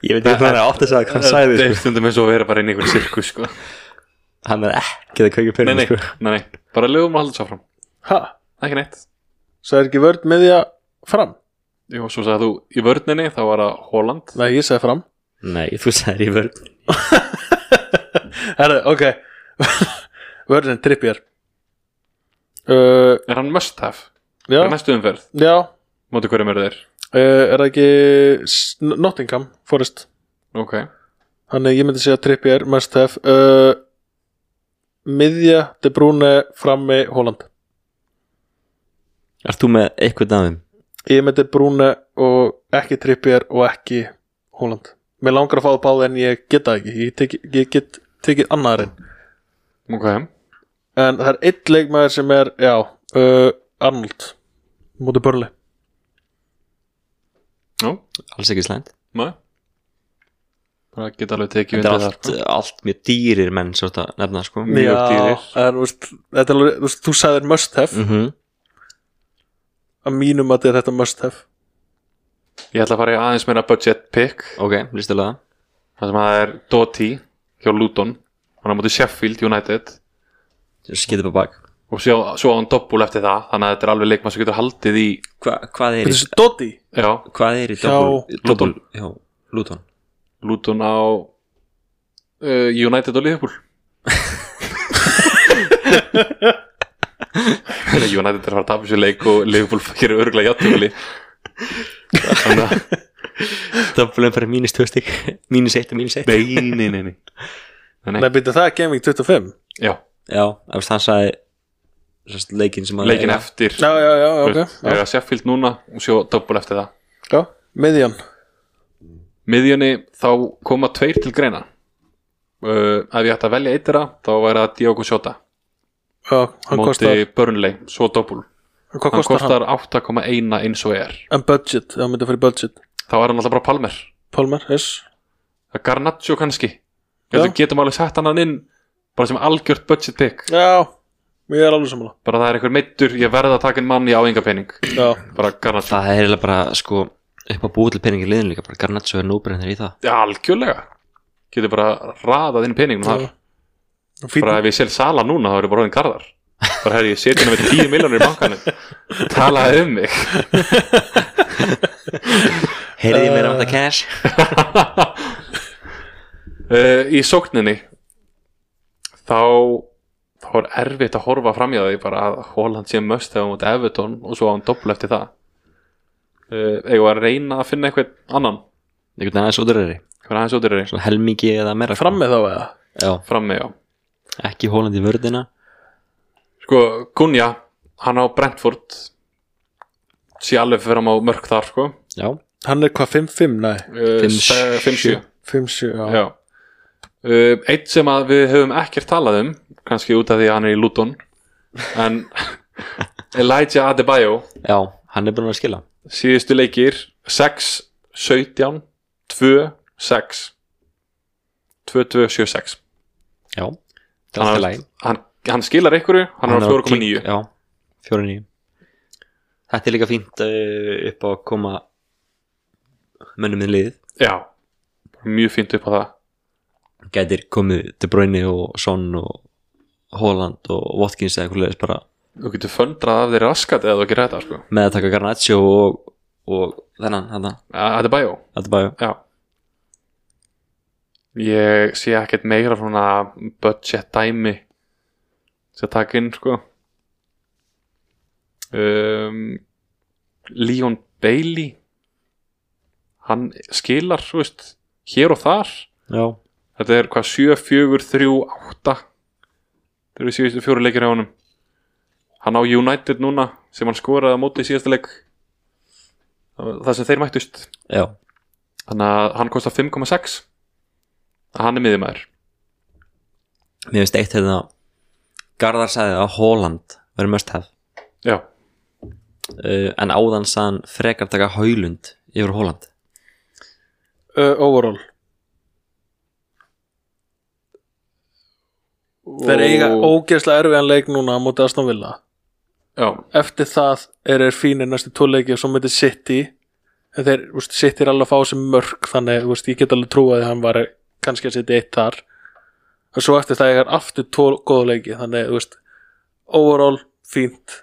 Speaker 2: ég veit ekki hvað hann er átt að segja hvað hann sagði
Speaker 3: Þetta
Speaker 2: sko.
Speaker 3: er stundum eins og að vera bara inn í einhvern sirkus sko.
Speaker 2: hann er ekki að kveika
Speaker 3: nei,
Speaker 2: pyrrinu
Speaker 3: nei,
Speaker 2: sko.
Speaker 3: nei, nei, bara lögum að halda þessu áfram
Speaker 1: ha,
Speaker 3: ekki neitt
Speaker 1: svo er ekki vörn með því að fram
Speaker 3: Jú, svo sagði þú í vörninni, þá var það Holland
Speaker 1: nei, ég segi fram
Speaker 2: nei, þú sagðir í vörð
Speaker 1: Herðu, ok Vörðin trippjör uh,
Speaker 3: Er hann must have?
Speaker 1: Já,
Speaker 3: Er næstu umferð?
Speaker 1: já
Speaker 3: Móti hverjum eru þeir?
Speaker 1: uh, Er það ekki S- Nottingham Forest
Speaker 3: Ok,
Speaker 1: Þannig ég myndi segja trippjör, must have uh, Miðja, De Bruyne, Frammi, Holland
Speaker 2: Ert þú með eitthvað dæmum?
Speaker 1: Ég myndi De Bruyne og ekki trippjör og ekki Holland Mér langar að fá það báði en ég get það ekki Ég, tek, ég get tekið annaðarinn
Speaker 3: ok
Speaker 1: En það er einn leikmaður sem er, já, uh, Arnold Múti Börli
Speaker 3: Nú,
Speaker 2: Alls ekki slæmt
Speaker 3: maður Það geta alveg tekið
Speaker 2: Þetta er
Speaker 3: undir
Speaker 2: allt,
Speaker 3: það
Speaker 2: allt mjög dýrir menn svo þetta nefna sko
Speaker 3: Mjög
Speaker 1: Já,
Speaker 3: dýrir.
Speaker 1: en, þú veist, þetta er alveg, þú veist, þú sagðir must have
Speaker 2: mm -hmm.
Speaker 1: að mínum að þetta er must have
Speaker 3: Ég ætla að fara í aðeins meira budget pick
Speaker 2: Ok, listulega
Speaker 3: Það sem að það er Doty hjá Luton Hann er á móti Sheffield United
Speaker 2: Skitið bara bak
Speaker 3: Og svo, svo á hann doppul eftir það Þannig að þetta er alveg leikmann sem getur haldið í
Speaker 2: Hva, Hvað er
Speaker 1: Þetta
Speaker 2: í,
Speaker 1: er svo Doddy
Speaker 3: Já,
Speaker 2: hvað er í
Speaker 1: Hjá
Speaker 2: doppul-
Speaker 3: Luton.
Speaker 2: doppul- hjá Luton
Speaker 3: Luton á uh, United og Liverpool Þannig að United er að fara að tapa sér leik og Liverpool gerir örgulega játtumli Þannig að
Speaker 2: Doppulum fyrir mínus tvö stygg Mínus eitt og mínus eitt
Speaker 3: Nei, nei, nei, nei.
Speaker 1: Nei, byrja, það er Gaming 25
Speaker 3: Já,
Speaker 2: Já, ef það sagði sérst, leikin sem að
Speaker 3: leikin eftir
Speaker 1: Já, já, já, ok
Speaker 3: Ég
Speaker 1: Já,
Speaker 3: er að Sheffield núna og sjó doppul eftir það
Speaker 1: já. miðjan
Speaker 3: Miðjunni þá koma tveir til greina uh, Ef ég ætti að velja eitt þeirra þá væri það Diogo Jota
Speaker 1: Já, hann kostar,
Speaker 3: Móti Burnley, svo doppul
Speaker 1: hvað
Speaker 3: Hann
Speaker 1: kostar hann?
Speaker 3: kostar 8,1 eins og er
Speaker 1: En budget, það myndi að fyrir budget
Speaker 3: Þá er hann alltaf bara Palmer
Speaker 1: Palmer, yes
Speaker 3: Garnaccio kannski Ég held
Speaker 1: Já.
Speaker 3: við getum alveg sett hann inn bara sem algjört budget pick
Speaker 1: Já, ég er alveg sammála
Speaker 3: bara það er einhver meittur, ég verð að taka einn mann í áenga pening
Speaker 1: Já,
Speaker 3: bara Garnaccio
Speaker 2: Það er eiginlega bara sko upp að búið til peningi liðin líka bara Garnaccio er nóbrennir í það
Speaker 3: Já, algjörlega getur bara raðað inn peningnum þar bara
Speaker 1: fýtt
Speaker 3: ef ég sel sala núna þá eru bara orðin garðar bara herri, ég seti henni með 10 miljonir í bankanum talaði um mig
Speaker 2: Heyrið ég meira um þetta cash
Speaker 3: uh, í sókninni þá þá er erfitt að horfa framjá því bara að Holland sé möst hefur mútið Everton og svo á hann doppel eftir það uh, eigum við að reyna að finna einhvern annan
Speaker 2: Einhvern veginn aðeins útröðri
Speaker 3: hvað er aðeins út í reyni
Speaker 2: Svona helmingi eða meira sko.
Speaker 1: Frammi þá eða
Speaker 2: Já,
Speaker 3: frammi á
Speaker 2: ekki Holland í vörðina
Speaker 3: sko Gunja hann á Brentford sé alveg fyrir hann á mörg þar sko
Speaker 2: Já,
Speaker 1: Hann er hvað, 5-5, nei
Speaker 3: uh,
Speaker 2: Fimm-
Speaker 3: 5-7
Speaker 1: 5, 7, já,
Speaker 3: Já. Uh, eitt sem að við höfum ekkert talað um kannski út af því að hann er í Luton en Elijah Adebayo
Speaker 2: já, hann er búin að skila
Speaker 3: síðustu leikir 6, 17 2, 6 2, 2, 7, 6
Speaker 2: já, það er alltaf
Speaker 3: hann,
Speaker 2: læg
Speaker 3: hann, hann skilar einhverju hann, er á 4,9
Speaker 2: já, 4,9 þetta er líka fínt uh, upp á að koma mönnum í lið
Speaker 3: já, mjög fínt upp á það
Speaker 2: gætir komið til Bruyne og Son og Holland og Watkins eða eitthvað leðis bara
Speaker 3: þú getur föndrað af þeirri raskat eða þú gerir þetta sko.
Speaker 2: með að taka Garnaccio og, og þennan, þarna,
Speaker 3: Adebayo
Speaker 2: þetta bæju
Speaker 3: Já Ég sé ekkert meira svona budget dæmi sem taka inn sko um, Leon Bailey hann skilar þú veist, hér og þar
Speaker 2: já,
Speaker 3: þetta er hvað 7, 4, 3, 8 þeir eru síðustu fjóru leikir hjá honum hann á United núna sem hann skoraði á móti í síðasta leik það sem þeir mættust
Speaker 2: já,
Speaker 3: Þannig að hann kostar 5,6 Hann er miðjumæður
Speaker 2: mér finnst eitt hérna Garðar sagði að Holland verður must have
Speaker 3: Já,
Speaker 2: uh, en áðan sagðan frekar taka Haulund yfir Holland
Speaker 1: uh, overall Þeir eiga ógeðslega erfiðan leik núna á móti Aston Villa
Speaker 3: Já,
Speaker 1: Eftir það er þeir fínir næstu tóleiki og svo myndi City en þeir, þú veist, City er alveg að fá sem mörg þannig, þú veist, ég get alveg trúið að hann var kannski að setja eitt þar en svo eftir það eiga þeir aftur tvo góða leiki þannig, þú veist, overall fínt,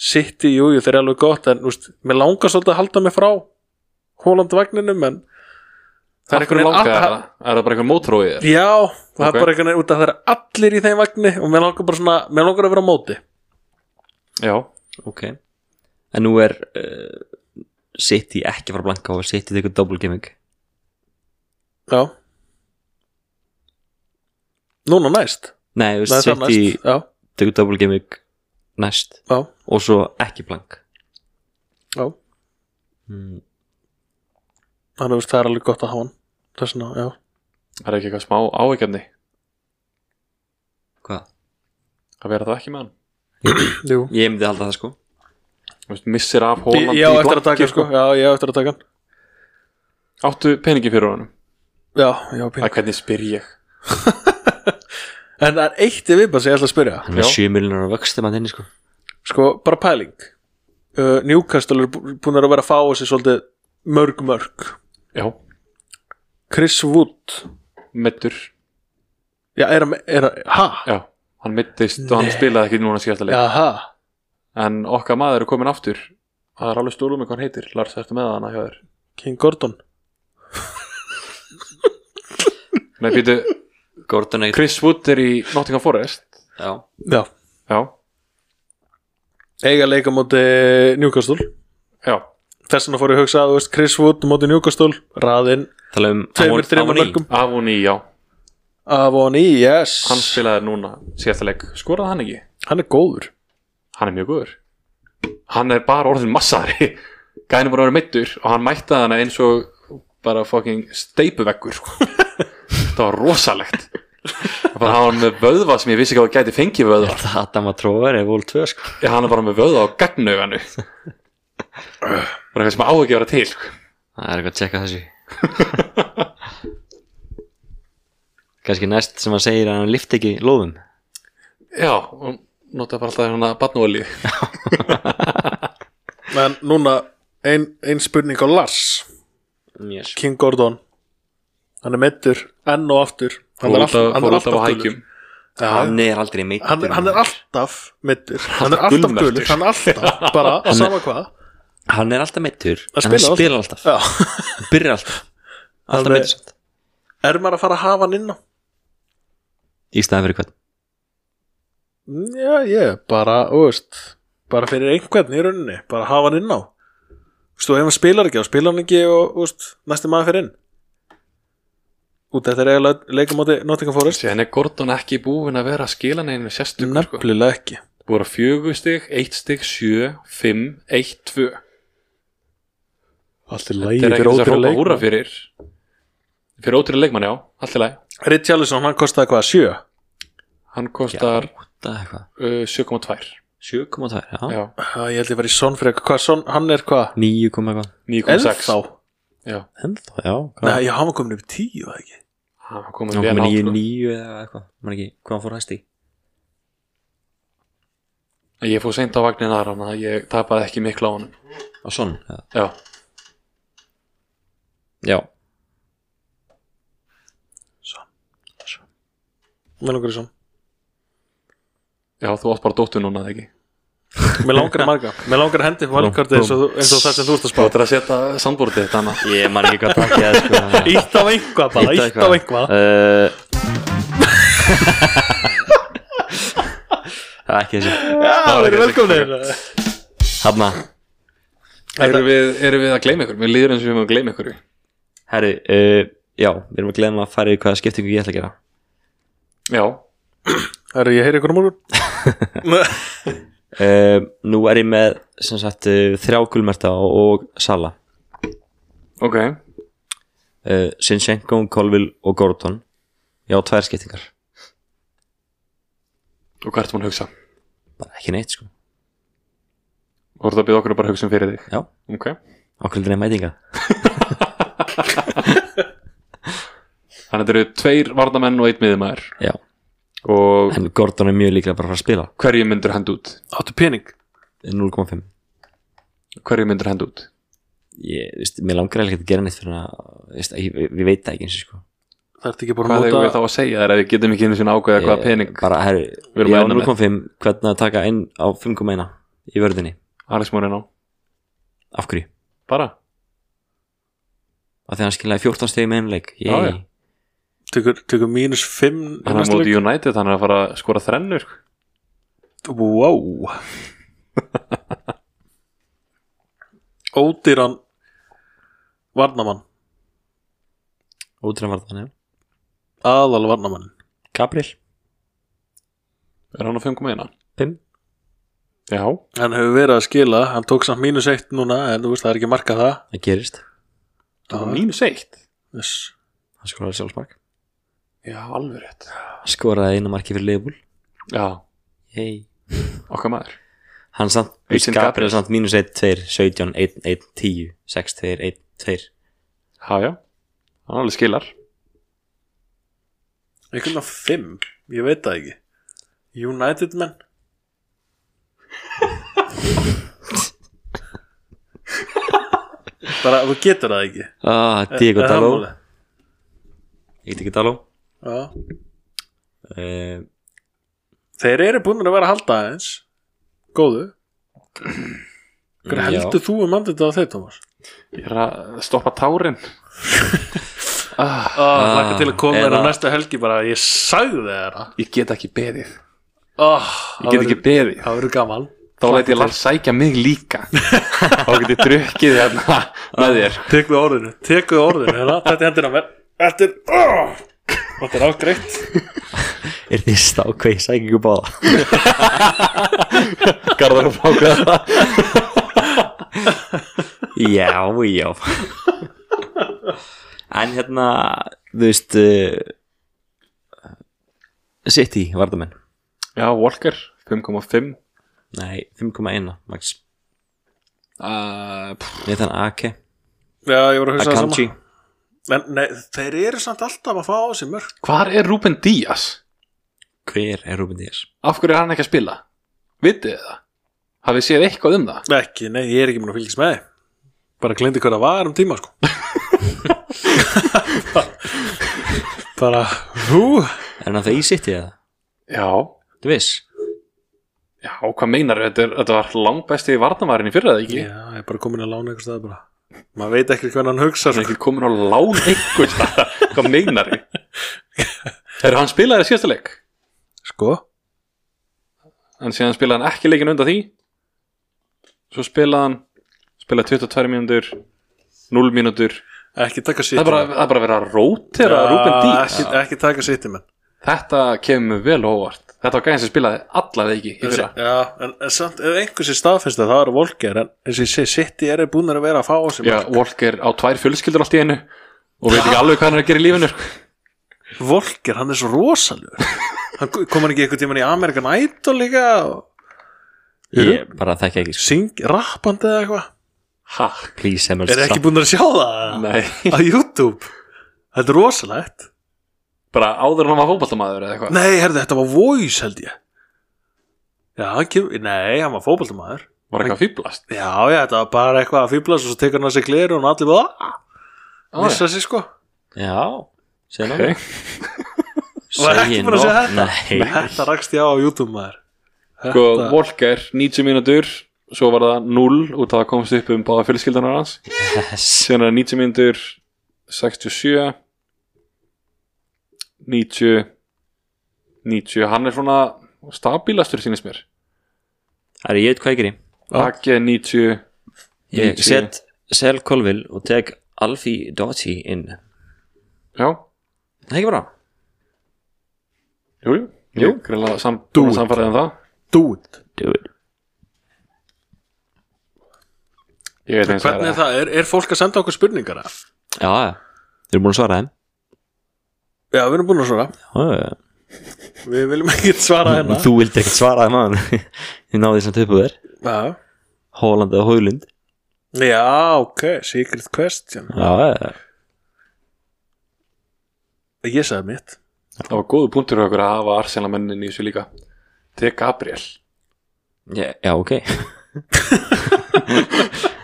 Speaker 1: City, jú, jú þeir er alveg gott, en, þú veist, mér langar svolítið að halda mig frá Hólandvagninum en
Speaker 3: það er einhvern
Speaker 1: veginn-
Speaker 3: veginn Er það bara einhvern mótróið þér?
Speaker 1: Já, það
Speaker 3: Ok.
Speaker 1: er bara einhvern veginn út að það er allir í þeim vagni og mér langar bara svona, mér langar að vera á móti
Speaker 3: Já,
Speaker 2: ok, en nú er uh, City ekki að fara að blanka og City tekur double gaming
Speaker 1: Já Núna næst
Speaker 2: nei,
Speaker 1: Það er
Speaker 2: þú veist,
Speaker 1: það
Speaker 2: City
Speaker 1: næst Já,
Speaker 2: tekur double gaming næst
Speaker 1: já,
Speaker 2: og svo ekki blank
Speaker 1: já
Speaker 2: mm,
Speaker 1: Þannig að það er alveg gott að hafa hann Þess vegna, já
Speaker 3: það er ekki eitthvað smá áhyggjandi
Speaker 2: hvað?
Speaker 3: að vera það ekki með hann
Speaker 1: Jú
Speaker 2: ég myndi halda það sko
Speaker 3: Þú veist, Missir af
Speaker 1: Ég
Speaker 3: Holland
Speaker 1: ég á eftir að taka sko Já, ég á eftir að taka hann
Speaker 3: Áttu peningi fyrir honum
Speaker 1: Já, já, pín
Speaker 3: Það hvernig spyr ég
Speaker 1: En það er eitt í viðbæð sem ég ætla að spyrja
Speaker 2: hann er
Speaker 3: Já.
Speaker 2: 7 miljonar á vöxtum að þinni sko
Speaker 1: Sko, bara pæling uh, Newcastle er bú- búin að vera að fá þessi svolítið mörg mörg
Speaker 3: Já,
Speaker 1: Chris Wood
Speaker 3: meittur
Speaker 1: Já, er hann, er hann, ha?
Speaker 3: Já, hann meittist og hann spilaði ekki núna síðasta leik
Speaker 1: Já, ha?
Speaker 3: En okkar maður er komin aftur Það er alveg stólum hvað hann heitir Lars, ertu með hann að hjá þér?
Speaker 1: King Gordon
Speaker 3: Nei, býtu,
Speaker 2: Gordon ekkert
Speaker 3: Chris Wood er í Nottingham Forest
Speaker 2: já,
Speaker 1: Já
Speaker 3: Já,
Speaker 1: eiga leika móti Newcastle
Speaker 3: já,
Speaker 1: þess vegna fór ég að hugsa að þú veist, Chris Wood móti Newcastle raðinn
Speaker 2: tala um hann
Speaker 1: tveimur,
Speaker 2: var- hann
Speaker 1: þreimur
Speaker 2: var ný.
Speaker 1: mörgum
Speaker 3: af og ný, já
Speaker 1: af og ný, E, yes
Speaker 3: hann spilaði núna síðasta leik skoraði hann ekki,
Speaker 1: hann er góður
Speaker 3: hann er mjög góður hann er bara orðin massari gæðin er bara orðin meittur og hann mættaði hana eins og bara fucking steipuveggur sko. það var rosalegt bara hann var með vöðva sem ég vissi ekki að það gæti fengið vöðva
Speaker 2: Þetta Adam að tróða er vol 2 sko
Speaker 3: Já, hann er bara með vöðva á gagnauganu bara eitthvað sem á ekki að vera til sko.
Speaker 2: Það er eitthvað að tjekka þessu Kanski næst sem hann segir að hann lift ekki lóðum
Speaker 3: já, og notaði bara alltaf hérna batnúolíu
Speaker 1: en núna ein, ein spurning á Lars
Speaker 2: yes.
Speaker 1: King Gordon hann er meittur enn og aftur hann er, alltaf, hann er alltaf gulur Já,
Speaker 2: Hann er aldrei meitt
Speaker 1: hann, er- hann er alltaf meittur hann er
Speaker 3: alltaf
Speaker 1: alltaf
Speaker 3: gulmerktur.
Speaker 1: gulur hann er alltaf bara sama hvað
Speaker 2: hann er alltaf meittur
Speaker 1: Hann
Speaker 2: en Hann
Speaker 1: spilar
Speaker 2: spilar alltaf,
Speaker 1: Já.
Speaker 2: hann byrjar alltaf
Speaker 1: Hann
Speaker 2: Alltaf
Speaker 1: er-
Speaker 2: meittur samt.
Speaker 1: er maður að fara að hafa hann inn á
Speaker 2: Í staðan fyrir hvern
Speaker 1: Já, ég, bara, þú veist bara fyrir einhvern í rauninni, bara hafa hann inn á Þú veist, og ef hann spilar ekki, þá spilar hann ekki og, þú veist, næsti maður fyrir inn Út þetta er eiginlega leikumóti Nottingham Forest
Speaker 3: síðan er Gordon ekki búin að vera að skila neginn sérstök sko.
Speaker 1: Nefnilega ekki
Speaker 3: voru fjögur stig, eitt stig, sjö, fimm, eitt, tvö
Speaker 1: Allt er
Speaker 3: þetta
Speaker 1: lægir
Speaker 3: er ekki þess að hrópa húra fyrir Fyrir ótrúið leikmann, já, allt í lagi
Speaker 1: Richarlison, hann kostaði hvað, sjö?
Speaker 3: Hann kostar
Speaker 2: Það er hvað
Speaker 3: uh, 7,2
Speaker 2: 7,2 já
Speaker 3: Já,
Speaker 1: Uh, ég held ég var í Son fyrir eitthvað, Son, hann er hvað?
Speaker 2: 9, eitthvað
Speaker 3: 9,6
Speaker 1: Ennþá?
Speaker 3: Já,
Speaker 2: Ennþá, já hvað?
Speaker 1: Nei, já, hann var komin upp í tíu, var það ekki?
Speaker 3: hann var
Speaker 2: Ná,
Speaker 3: komin vel
Speaker 2: komið
Speaker 3: átt
Speaker 2: nýju,
Speaker 3: sko.
Speaker 2: nýju eða eitthvað Man ekki, hvað hann fór hæst í
Speaker 3: Ég fór seint á vagnin aðra hann að ég tapaði ekki miklu á hann
Speaker 2: Á sonn Já,
Speaker 3: Já,
Speaker 2: já.
Speaker 1: Mér langar í Son
Speaker 3: já þú átt bara dóttu núna eða ekki
Speaker 1: Mér langar í marga Mér langar að hendi upp valkarti eins og, eins og það sem þú ert að
Speaker 3: Þú
Speaker 1: spá
Speaker 3: ættir að setja sandbúrtið þetta annað
Speaker 2: Ég man ekki hvað takkið er sko
Speaker 1: Ítt af einhvað bara, ítt af einhvað
Speaker 2: Uh, Það er ekki þessi
Speaker 1: Já, við erum velkomnir
Speaker 2: Hanna,
Speaker 3: Erum við, erum við að gleyma ykkur? Mér líður eins og við erum að gleyma ykkur
Speaker 2: herri, uh, já, við erum að glemma að fara í hvaða skiptingu ég ætla að gera
Speaker 3: Já,
Speaker 1: Það er ég heyri ykkur á morgun
Speaker 2: uh, Nú er ég með sem sagt uh, þrjá gulmerta og Sala
Speaker 3: ok
Speaker 2: uh, Sinchenko, Colville og Gordon Já, tvær skiptingar
Speaker 3: Og hvað ertu búin að hugsa?
Speaker 2: Bara ekki neitt sko
Speaker 3: Þú ert að byrja okkur að bara hugsa um fyrir þig
Speaker 2: Já,
Speaker 3: Ok
Speaker 2: okkur er mætinga
Speaker 3: Þannig þetta eru tveir varnamenn og einn miðumæður
Speaker 2: Já,
Speaker 3: Og
Speaker 2: en Gordon er mjög líklega bara að fara að spila Eh,
Speaker 3: hverju myndur hend út?
Speaker 1: Áttu pening
Speaker 2: 0,5
Speaker 3: Hverju myndur hend út?
Speaker 2: Ég, veist, mér langar ekki að gera neitt fyrir að veist, ég, ég, ég veit það ekki eins og sko
Speaker 1: Það ert ekki búin
Speaker 3: Hvað
Speaker 1: að
Speaker 3: eigum við þá
Speaker 1: nota
Speaker 3: að segja þér ef við getum ekki einu sinni ákveða hvaða
Speaker 2: Ég-
Speaker 3: pening
Speaker 2: Eh, bara, herri,
Speaker 3: Við
Speaker 2: ég
Speaker 3: erum
Speaker 2: á
Speaker 3: að vinna með.
Speaker 2: 0,5 hvernig að taka inn á 5,1 í vörðinni,
Speaker 3: Alex Moreno
Speaker 2: af hverju
Speaker 3: Bara?
Speaker 2: af því að hann skilaði 14 stegi með einu leik
Speaker 3: Já, já.
Speaker 2: Yay.
Speaker 1: Tökur- Tökur mínus fimm í
Speaker 3: Hann er
Speaker 1: næsta
Speaker 3: móti
Speaker 1: leik.
Speaker 3: United, hann er að fara að skora þrennur
Speaker 1: Wow Ódýran Varnamann
Speaker 2: ótrúan var það nefn
Speaker 1: Aðal varnamann
Speaker 2: Gabriel,
Speaker 3: Er hann á 5,1?
Speaker 2: 5
Speaker 3: Já
Speaker 1: Hann hefur verið að skila Hann tók samt mínus eitt núna En þú veist það er ekki markað það
Speaker 2: það gerist,
Speaker 1: Já.
Speaker 3: Mínus eitt
Speaker 1: yes.
Speaker 2: hann skoraði sjálfsmark
Speaker 3: Já, alveg rétt
Speaker 2: skoraði einu marki fyrir Leifbúl
Speaker 3: Já,
Speaker 2: hey.
Speaker 3: okkar maður
Speaker 2: hann samt,
Speaker 3: Vincent
Speaker 2: Gabriel
Speaker 3: Gabriel.
Speaker 2: samt mínus 1, 2, 17, 1, 1, 10 6, 2, 1, 2
Speaker 3: Já, já, hann alveg skilar
Speaker 1: Einhvern veginn fimm Ég veit það ekki United menn Bara þú getur það ekki Eh,
Speaker 2: ah, Diego
Speaker 1: Er- er það
Speaker 2: Daló
Speaker 1: málið?
Speaker 2: Diego Daló
Speaker 1: Já.
Speaker 2: uh,
Speaker 1: Þeir eru búin að vera að halda aðeins Góðu Hver heldur þú um andið á þeir, Thomas?
Speaker 3: Ég er að stoppa tárin
Speaker 1: Oh,
Speaker 3: ah,
Speaker 2: Ah,
Speaker 1: Laka til að koma þér á
Speaker 2: eða-
Speaker 1: næsta helgi bara Ég sagði þér það
Speaker 3: Ég get ekki beðið
Speaker 1: oh,
Speaker 3: Ég get ekki beðið
Speaker 1: Það verður gaman
Speaker 3: Þá leit ég Lars sækja mig líka Þá get ég drukkið hérna með þér
Speaker 1: Tekðu orðinu, tekðu orðinu hérna. Þetta er hendina mér Þetta er oh, Þetta er ágreitt
Speaker 2: er því stákveið sækingu báða
Speaker 3: Garðar og fákað það
Speaker 2: já, já en hérna þú veist uh, City, Vardamenn
Speaker 3: Já, Walker, 5,5
Speaker 2: nei, 5,1 max
Speaker 3: uh, pff,
Speaker 2: Nathan Ake,
Speaker 1: Já, ég var að hugsa það
Speaker 2: Akanji
Speaker 1: sama En nei, þeir eru samt alltaf að fá á sig mörg
Speaker 3: Hvar er Ruben Díaz?
Speaker 2: hver er Ruben Díaz?
Speaker 3: Af hverju er hann ekki að spila? Vitið þið það? Hafið séð eitthvað um það?
Speaker 1: Ekki, nei, ég er ekki múin að fylgjast með þeim Bara glindi hvað það var um tíma sko Bara Hú
Speaker 2: er hann að það í City eða?
Speaker 3: Já,
Speaker 2: þú veist?
Speaker 3: já, hvað meinar þetta? Er, þetta var langbæsti varnamærin í fyrra, eða ekki?
Speaker 1: Já, ég er bara komin að lána einhvers stað bara Maður veit ekki hvernig hann hugsa
Speaker 3: hann er
Speaker 1: sko.
Speaker 3: ekki komin á lán einhvern staðar. hvað meinar þið þegar hann spilaði síðasta leik
Speaker 1: sko,
Speaker 3: en síðan spilaði hann ekki leikin undan því svo spilaði hann spilaði 22 mínútur 0 mínútur
Speaker 1: ekki taka
Speaker 3: það
Speaker 1: sýtti
Speaker 3: er bara, það er bara að vera að rótera ja, Ruben Díaz
Speaker 1: ekki, ekki taka sýtti menn
Speaker 3: þetta kemur vel óvart þetta var gæðin sem spilaði alla leiki í fyrra
Speaker 1: Já, en, en samt, ef einhversi staðfinnst að það eru volker en eins og ég sé, sýtti eru búin að vera að fá á sig
Speaker 3: já,
Speaker 1: mörg.
Speaker 3: Walker á tvær fjölskyldur allt í einu og veit ekki alveg hvað hann er að gera í lífinu sko.
Speaker 1: Volker, hann er svo rosalur hann kom hann ekki einhvern tímann í Amerikan Idol líka og
Speaker 2: ég bara þekki ekki
Speaker 1: syng, rappandi eða eitthvað
Speaker 3: ha,
Speaker 2: please sem
Speaker 1: er ekki búin að sjá það
Speaker 3: nei,
Speaker 1: á YouTube þetta er rosalegt
Speaker 3: bara áður en hann var fótballtamaður eða eitthvað
Speaker 1: nei, herðu, þetta var voice held ég já, hann kemur, nei, hann var fótboltamaður
Speaker 3: var eitthvað að fýblast
Speaker 1: já, já, þetta var bara eitthvað að fýblast og svo tekur hann að sig gleru og hann allir bara "Ah,
Speaker 3: Á,
Speaker 1: missa sig sko
Speaker 2: já, segja
Speaker 3: Ok.
Speaker 2: námi
Speaker 1: Var ekki búin að segja
Speaker 2: nei,
Speaker 1: þetta rakst ég á á YouTube maður
Speaker 3: sko,
Speaker 1: Þetta-
Speaker 3: Volker, 90 mínútur svo var það 0 út af að það komst upp um báða fylskildanar hans
Speaker 2: yes
Speaker 3: síðan er 90 mínútur 67 90 90, hann er svona stabilastur sínist mér
Speaker 2: það er ég veit hvað ég gerir
Speaker 1: Já.
Speaker 3: Akki 90
Speaker 2: Ég
Speaker 3: 90.
Speaker 2: set Sel Colville og tek Alfie Doughty inn Það
Speaker 3: já,
Speaker 2: er ekki bara
Speaker 3: jú, jú,
Speaker 2: Jú.
Speaker 3: jú. greinlega sam,
Speaker 1: Do it.
Speaker 3: samfærið um það
Speaker 1: dude
Speaker 2: Do it
Speaker 3: Ég veit eins og
Speaker 1: hvernig er það, er, er fólk að senda okkur spurningar eða?
Speaker 2: Já, já. þeir eru búin að svara þeim
Speaker 1: já, við erum búin að svara
Speaker 2: Já, já.
Speaker 1: við viljum ekki svara hérna
Speaker 2: Þú vildir ekkert svara þeim aðan Þið náðu þess að töpu þér
Speaker 1: já,
Speaker 2: Holland eða Hólund
Speaker 1: já, ok, secret question
Speaker 2: Já, já, já.
Speaker 1: ég sagði mitt
Speaker 3: Það var góðu punktur hjá okkur að hafa Arsenalmennin í þessu líka Til Gabriel
Speaker 2: Já, já, ok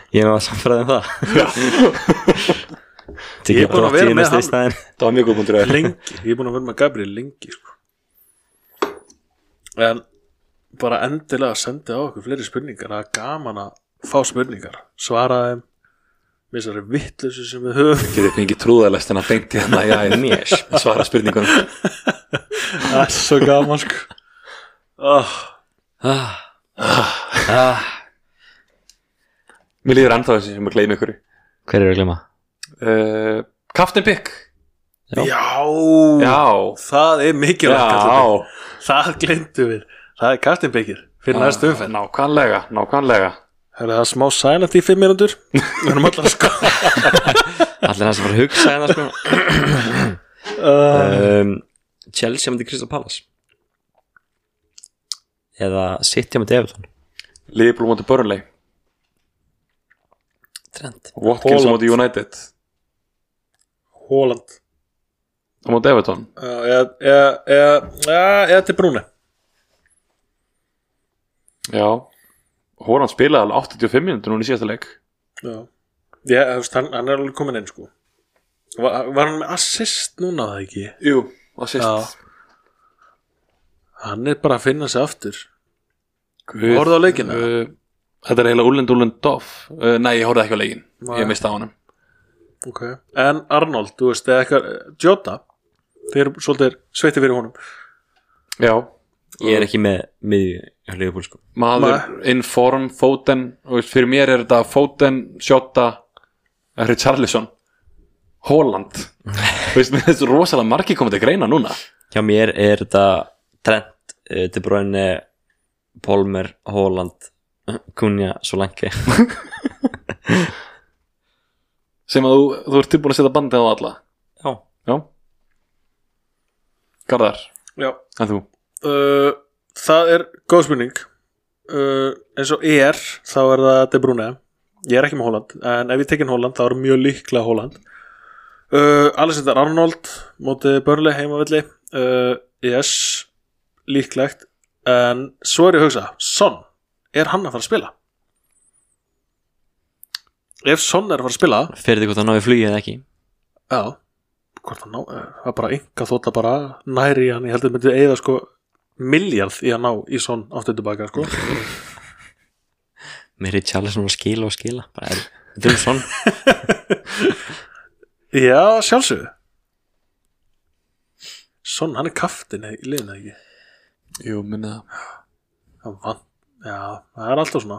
Speaker 2: Ég náðu að um samfæra þeim það
Speaker 1: Ég er búin að vera með hann.
Speaker 2: hann
Speaker 3: Það var mjög góð punktur hjá þér.
Speaker 1: lengi, ég er búin að vera með Gabriel lengi sko. en bara endilega sendi á okkur fleiri spurningar það er gaman að fá spurningar svara þeim með þessari vittlösu sem við höfum
Speaker 3: Getið fengið hérna trúðalest en að beinti hann E að ég
Speaker 2: Yes.
Speaker 3: svara spurningunum
Speaker 1: það er svo gaman sko. oh,
Speaker 2: ah, ah.
Speaker 3: Mér líður ennþá þessi sem að gleymi ykkur
Speaker 2: Hver er að glemma?
Speaker 3: uh, Captain Pick
Speaker 2: Já.
Speaker 1: já,
Speaker 3: Já,
Speaker 1: það er mikilvægt Katla
Speaker 3: já
Speaker 1: Beykir. það glindu við það er Kartin Byggir fyrir næstu umfenn
Speaker 3: Nákvæmlega, nákvæmlega
Speaker 1: það er smá sænat í fimm minútur við erum allar sko
Speaker 2: Allir hans að fara að hugsa hérna sko
Speaker 1: uh,
Speaker 2: um, Chelsea myndi Crystal Palace eða City myndi Everton
Speaker 3: Liverpool mútið Burnley
Speaker 2: Trent
Speaker 3: Watkins
Speaker 1: Holland.
Speaker 3: mútið United
Speaker 1: Hóland
Speaker 3: Það mútið Everton
Speaker 1: Já, eða- eða- eða já, eða til Brúni
Speaker 3: Já Hóran spilaði alveg 85 minútur núna í síðasta leik
Speaker 1: Já, ég, þú veist, hann, hann er alveg komin inn sko Var, var hann með assist núna það ekki?
Speaker 3: Jú, assist
Speaker 1: Hann er bara að finna sig aftur
Speaker 3: Guð,
Speaker 1: Horfðu á leikina?
Speaker 3: uh, Þetta er eiginlega Ulland Ulland Doff uh, Nei, ég horfði ekki á leikin
Speaker 1: Nei.
Speaker 3: Ég misti á honum
Speaker 1: okay. En Arnold, þú veist, eða eitthvað Jota, þeir eru svolítið sveitti fyrir honum
Speaker 3: Já
Speaker 2: ég er ekki með miðju hjá Liverpool sko
Speaker 3: Maður
Speaker 1: Ma-
Speaker 3: in form, Foden og veist, Fyrir mér er þetta Foden, Shota Richarlison Holland veist, Mér finnst rosalega margir komið til greina núna
Speaker 2: hjá mér er þetta Trent, uh, De Bruyne Palmer, Holland Kunja, Solanke
Speaker 3: sem að þú, þú ert tilbúin að setja bandið á alla
Speaker 2: já,
Speaker 3: Já Garðar,
Speaker 1: Já
Speaker 3: en þú
Speaker 1: uh, Það er góð spurning uh, eins og er þá er það De Bruyne ég er ekki með Holland en ef ég tekinn Holland þá er mjög líklega Holland uh, Alessandar Arnold mótið Börli heimavilli uh, yes, líklegt en svo er ég að hugsa Son, er hann að fara að spila? Ef Son er að fara að spila
Speaker 2: fyrir því hvort það náði flugið eða ekki
Speaker 1: Já Hvort hann ná, eh, það er bara enga þótt að bara næri í hann, ég held að myndi eða sko miljard í að ná í svon aftur tilbaka sko
Speaker 2: mér er Charles að skila og skila bara er, þetta er svon
Speaker 1: Já, sjálfsögðu Svon, hann er kaftin í liðinu ekki
Speaker 3: Jú, minna
Speaker 1: Hann vann, já, það er alltaf svona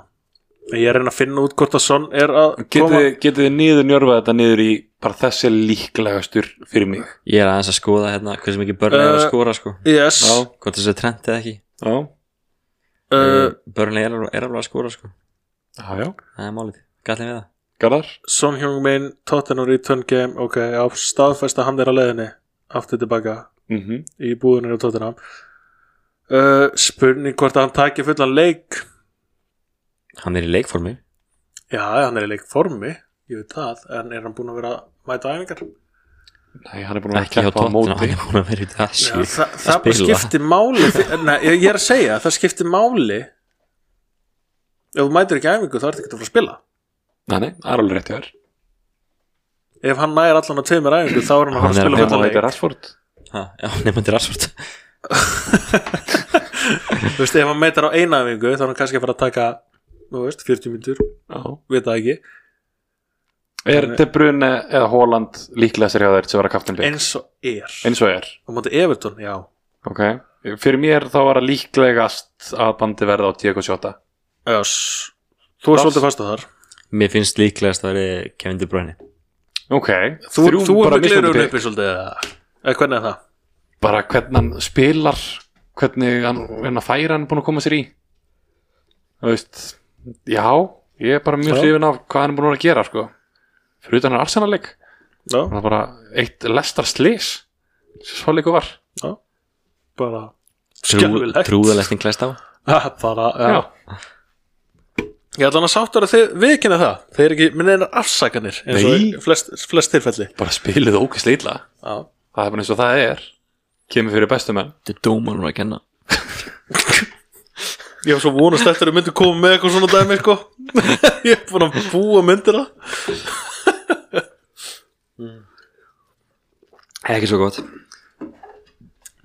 Speaker 1: En Ég er að reyna að finna út hvort að svon er að koma
Speaker 3: Getið getið þið niður njörfað þetta niður í bara þessi líklegastur fyrir mig
Speaker 2: ég er aðeins að skoða hérna hversu mikið Burnley er að
Speaker 1: Eh,
Speaker 2: skora sko
Speaker 1: Yes,
Speaker 3: Já,
Speaker 2: hvort þessi er Trent eða ekki
Speaker 3: já,
Speaker 1: uh,
Speaker 2: Eh. uh, Burnley er, alveg- er alveg að skora sko
Speaker 3: já, já
Speaker 2: það er málið, gallið við það
Speaker 3: Garðar
Speaker 1: Son Heung-min, Tottenham Return Game ok, á staðfest að hann er á leiðinni aftur tilbaka
Speaker 3: mm -hmm.
Speaker 1: í búðunir á Tottenham uh, spurning hvort að hann taki fullan leik
Speaker 2: Hann er í leikformi
Speaker 1: já, hann er í leik formi ég veit það, en er hann búinn að vera að mæta æfingar
Speaker 3: Nei, hann er búin að
Speaker 2: Ekki hjá
Speaker 3: keppa á
Speaker 2: tóttina,
Speaker 3: móti
Speaker 2: hann er búin að vera í
Speaker 1: já,
Speaker 2: þessu
Speaker 1: það, það bara
Speaker 2: spila.
Speaker 1: skiptir máli fyr- Nei, ég ég er að segja, það skiptir máli ef þú mætir ekki æfingu þá ertu ekki að fara að spila
Speaker 3: Nei, nei, það er alveg rétt hjá þér
Speaker 1: ef hann nægir allan á tveimur æfingu þá er hann að fara að
Speaker 2: Hann er að
Speaker 1: spila
Speaker 2: koma
Speaker 3: Nefnum
Speaker 1: fullan
Speaker 3: að
Speaker 1: leik
Speaker 3: þetta er Rashford
Speaker 2: Ha, Já, nefnum þetta er aðsvort
Speaker 1: þú veist, ef hann mætir á eina æfingu þá er hann kannski að fara að taka þú veist, 40 myndur,
Speaker 3: Já
Speaker 1: við það ekki
Speaker 3: Er De Bruyne eða Holland líklega sér hjá þér sem vera kaftinleik?
Speaker 1: eins og er
Speaker 3: Eins og er,
Speaker 1: á móti Everton, já
Speaker 3: ok Fyrir mér þá var það líklegast að bandi verða á Diego Sjóta
Speaker 1: Jás. þú er
Speaker 3: Lars.
Speaker 1: svolítið fast á þar
Speaker 2: Mér finnst líklegast að það er Kevin De Bruyne
Speaker 3: Ok,
Speaker 1: þú,
Speaker 3: þrjú
Speaker 1: þú er
Speaker 3: bara
Speaker 1: með glirun
Speaker 3: mismunandi
Speaker 1: uppi svolítið eða eða hvernig er það?
Speaker 3: pick. Bara hvernig hann spilar hvernig hann, hann færa hann er búin að koma sér í Þú veist Já, ég er bara
Speaker 1: Já.
Speaker 3: mjög hrifin af hvað hann er búin að vera að gera sko Fyrir utan hann arsenaleik
Speaker 1: Já,
Speaker 3: Það er bara eitt lestar slis Svo líku var
Speaker 1: bara
Speaker 2: Trú,
Speaker 1: Skelfilegt.
Speaker 2: Trúðalesting klæst á
Speaker 1: Ha, bara, já. ég ætla hann að sáttur að þið viðkynna það þeir eru ekki minn einar afsakanir eins og
Speaker 3: Nei.
Speaker 1: í flest, flest tilfelli
Speaker 3: bara spilið ókist illa
Speaker 1: já.
Speaker 3: Það er bara eins og það er Kemur fyrir bestumenn
Speaker 2: Þetta er dómanum að kenna
Speaker 1: ég var svo vonast eftir að myndu koma með eitthvað svona dæmi sko. ég er búin að búa myndina
Speaker 2: Ekki svo gott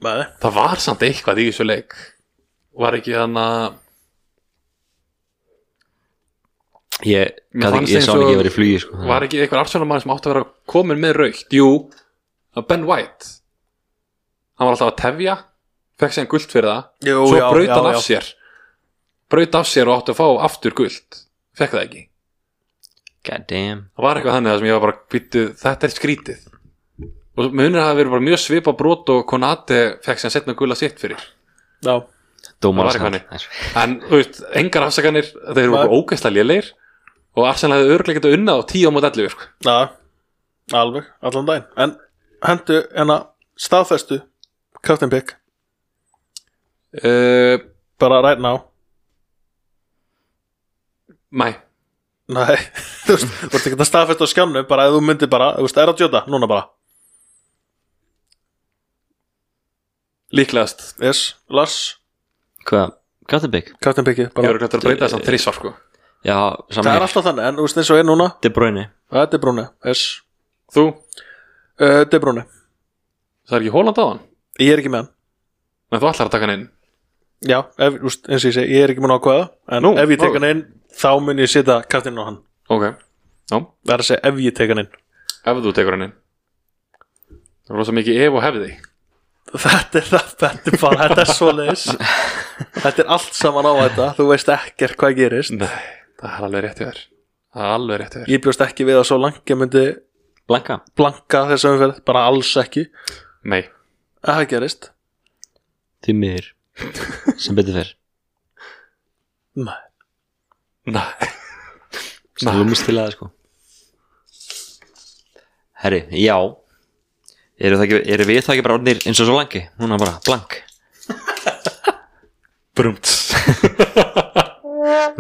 Speaker 1: Nei.
Speaker 3: Það var samt eitthvað í þessu leik Var ekki þann að
Speaker 2: Ég,
Speaker 3: Mér
Speaker 2: gat
Speaker 3: fannst
Speaker 2: ekki, ég
Speaker 3: eins
Speaker 2: sá hann
Speaker 3: og-
Speaker 2: ekki að vera í flugi sko.
Speaker 3: Var ekki eitthvað arsjónamaður sem átti að vera komin með raukt Jú, það var Ben White Hann var alltaf að tefja Fekk sér en gult fyrir það
Speaker 1: Jú,
Speaker 3: Svo
Speaker 1: já,
Speaker 3: braut
Speaker 1: já,
Speaker 3: hann af
Speaker 1: já.
Speaker 3: sér Braut af sér og átti að fá aftur gult Fekk það ekki
Speaker 2: God damn
Speaker 3: Það var eitthvað þannig það sem ég var bara býttu Þetta er skrítið Og munir að það hafi verið bara mjög svipa brot og Konate fekk sér setna gula sitt fyrir
Speaker 1: Já.
Speaker 2: Dómar
Speaker 3: Það var eitthvað En, þú veist, engar afsakanir Þeir eru
Speaker 1: Nei.
Speaker 3: okkur ógeðslega lélegir Og Arsenal hefði örglega getað unnað á 10 á mót 11 sko.
Speaker 1: já, alveg, allan daginn en hendu, en að staðfestu Captain Pick,
Speaker 3: uh,
Speaker 1: bara right now
Speaker 3: Mæ,
Speaker 1: Nei, þú veist, þú ert ekki að staðfest á skjánu bara ef þú myndir bara, þú veist, er að djóta núna bara,
Speaker 3: líklegast
Speaker 1: yes, Lars
Speaker 2: Hvað, Gattabik?
Speaker 1: Captain Piggy,
Speaker 3: Ég
Speaker 1: bara,
Speaker 3: eru glætt að breyta þessan þrísvar sko.
Speaker 2: Já,
Speaker 1: það
Speaker 2: saman
Speaker 1: er
Speaker 2: hér
Speaker 1: alltaf þannig en þú veist eins og er núna,
Speaker 2: De Bruyne
Speaker 1: þetta er brúni yes,
Speaker 3: Þú,
Speaker 1: uh, þetta er brúni
Speaker 3: það er ekki Holland á hann
Speaker 1: ég er ekki með hann,
Speaker 3: En þú ætlar að taka hann inn
Speaker 1: já, ef, þú veist, eins og ég segi ég er ekki múin að ákveða, en
Speaker 3: Nú,
Speaker 1: ef ég
Speaker 3: nú.
Speaker 1: tek hann inn þá mun ég setja Captain á hann
Speaker 3: Ok, já,
Speaker 1: það er að segja ef ég tek hann inn
Speaker 3: ef þú tekur hann inn Það er rosa mikið ef og hefði
Speaker 1: þetta er það, þetta er bara, þetta er svo leis þetta er allt saman á þetta þú veist ekkert hvað gerist
Speaker 3: Nei, það er alveg rétt hjá þér Það er alveg rétt hjá þér
Speaker 1: ég bjóst ekki við að svo langt ég myndi
Speaker 2: Blanka
Speaker 1: blanka þessa umferð, bara alls ekki
Speaker 3: Nei,
Speaker 1: að það gerist
Speaker 2: Því miður Sem betur fer
Speaker 1: Nei.
Speaker 3: nei,
Speaker 2: Slumist til aða sko Herri, já Eru, það ekki, eru við það ekki bara orðnir eins og svo langi? Núna bara, blank
Speaker 3: brumt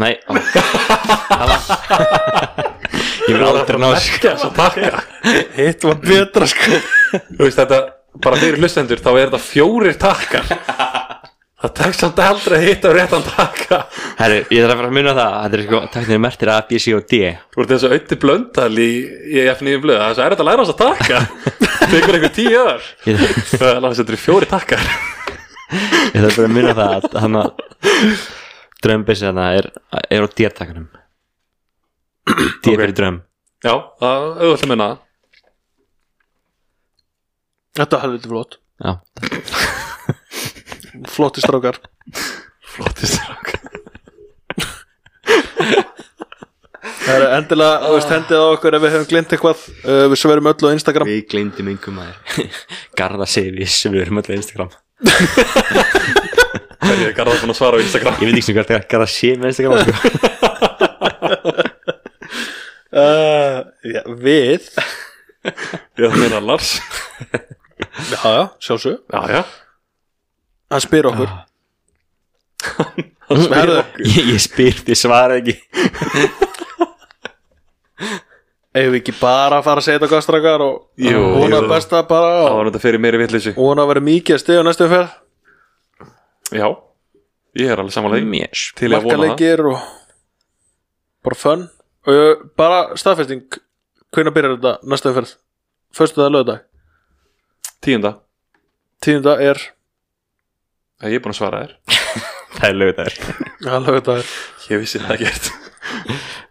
Speaker 2: Nei ó. Hala. Ég vil aldrei ná þessu.
Speaker 3: Ekki þess að taka
Speaker 1: hitt var betra sko
Speaker 3: Þú veist þetta, bara fyrir hlustendur þá er þetta fjórir takkar Það tekst samt aldrei að hitta réttan takka
Speaker 2: Herri, ég þarf að fara að muna það Þetta er sko, tæknir mertir A, B, C og D
Speaker 3: Þú ert eins og auðvitað blöndal í, í F9 blöð Það er svo erfitt að læra þess að takka Tekur einhver tíu öðar
Speaker 2: Ég þarf
Speaker 3: Það er alveg þetta eru fjóri takkar
Speaker 2: ég þarf bara að muna það að hann að drömbissi hann er, er á dértakanum D
Speaker 3: Ok.
Speaker 2: fyrir dröm
Speaker 3: Já, það er auðvitað minna það.
Speaker 1: þetta hefði þetta flott,
Speaker 2: Já,
Speaker 1: flotti strákar
Speaker 3: Flottist rák
Speaker 1: það er endilega, þú veist, hendið á okkur ef við höfum glimt eitthvað, uh, við sverum öll á Instagram
Speaker 2: Við gleymdum yngum aðeir Garða segir við sem við erum öll á Instagram
Speaker 3: Hverju er Garðar búin að svara á Instagram
Speaker 2: Ég veit ekki sem hvert er að Garða segir með Instagram sko.
Speaker 1: uh, já, Við
Speaker 3: Já, það meina Lars
Speaker 1: Já, já, Ah. sjálfsög
Speaker 3: Já, já
Speaker 1: Hann spyr okkur
Speaker 3: Hann spyr
Speaker 1: Herðu.
Speaker 3: okkur.
Speaker 2: ég, ég spyr, ég svara ekki
Speaker 1: Ef við ekki bara að fara að segja þetta gastrakar og
Speaker 3: Jú,
Speaker 1: vona
Speaker 3: jú.
Speaker 1: besta bara
Speaker 3: Það
Speaker 1: og
Speaker 3: var þetta fyrir meiri vitleysu
Speaker 1: vona að vera mikið að stiga næstu umferð
Speaker 3: Já, ég er alveg samanlega
Speaker 2: Yes.
Speaker 3: Til að vona það
Speaker 1: markaleikir og bara fun uh, bara staðfesting hvenær byrjar þetta næsta umferð förstu dag, lögdag,
Speaker 3: Tíunda
Speaker 1: tíunda er
Speaker 3: Það ég er búin að svara þér
Speaker 2: það er lögðar
Speaker 1: ja, lögdag er
Speaker 3: Ég vissi það ekkert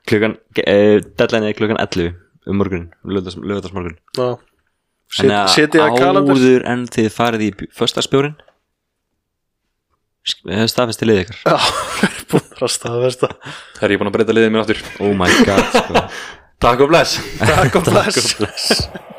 Speaker 2: klukkan, uh, deadline er klukkan 11 um morgun, lögðarsmorgun
Speaker 1: já. Set, setið að kalendur
Speaker 2: áður en þið farið í föstarsbjórin staðfesti eh, liðið ykkar
Speaker 1: já, búin að staðfesta
Speaker 3: Það er ég búin að breyta liðið mér aftur
Speaker 2: oh my god sko.
Speaker 3: Takk og bless
Speaker 1: takk og bless
Speaker 2: bless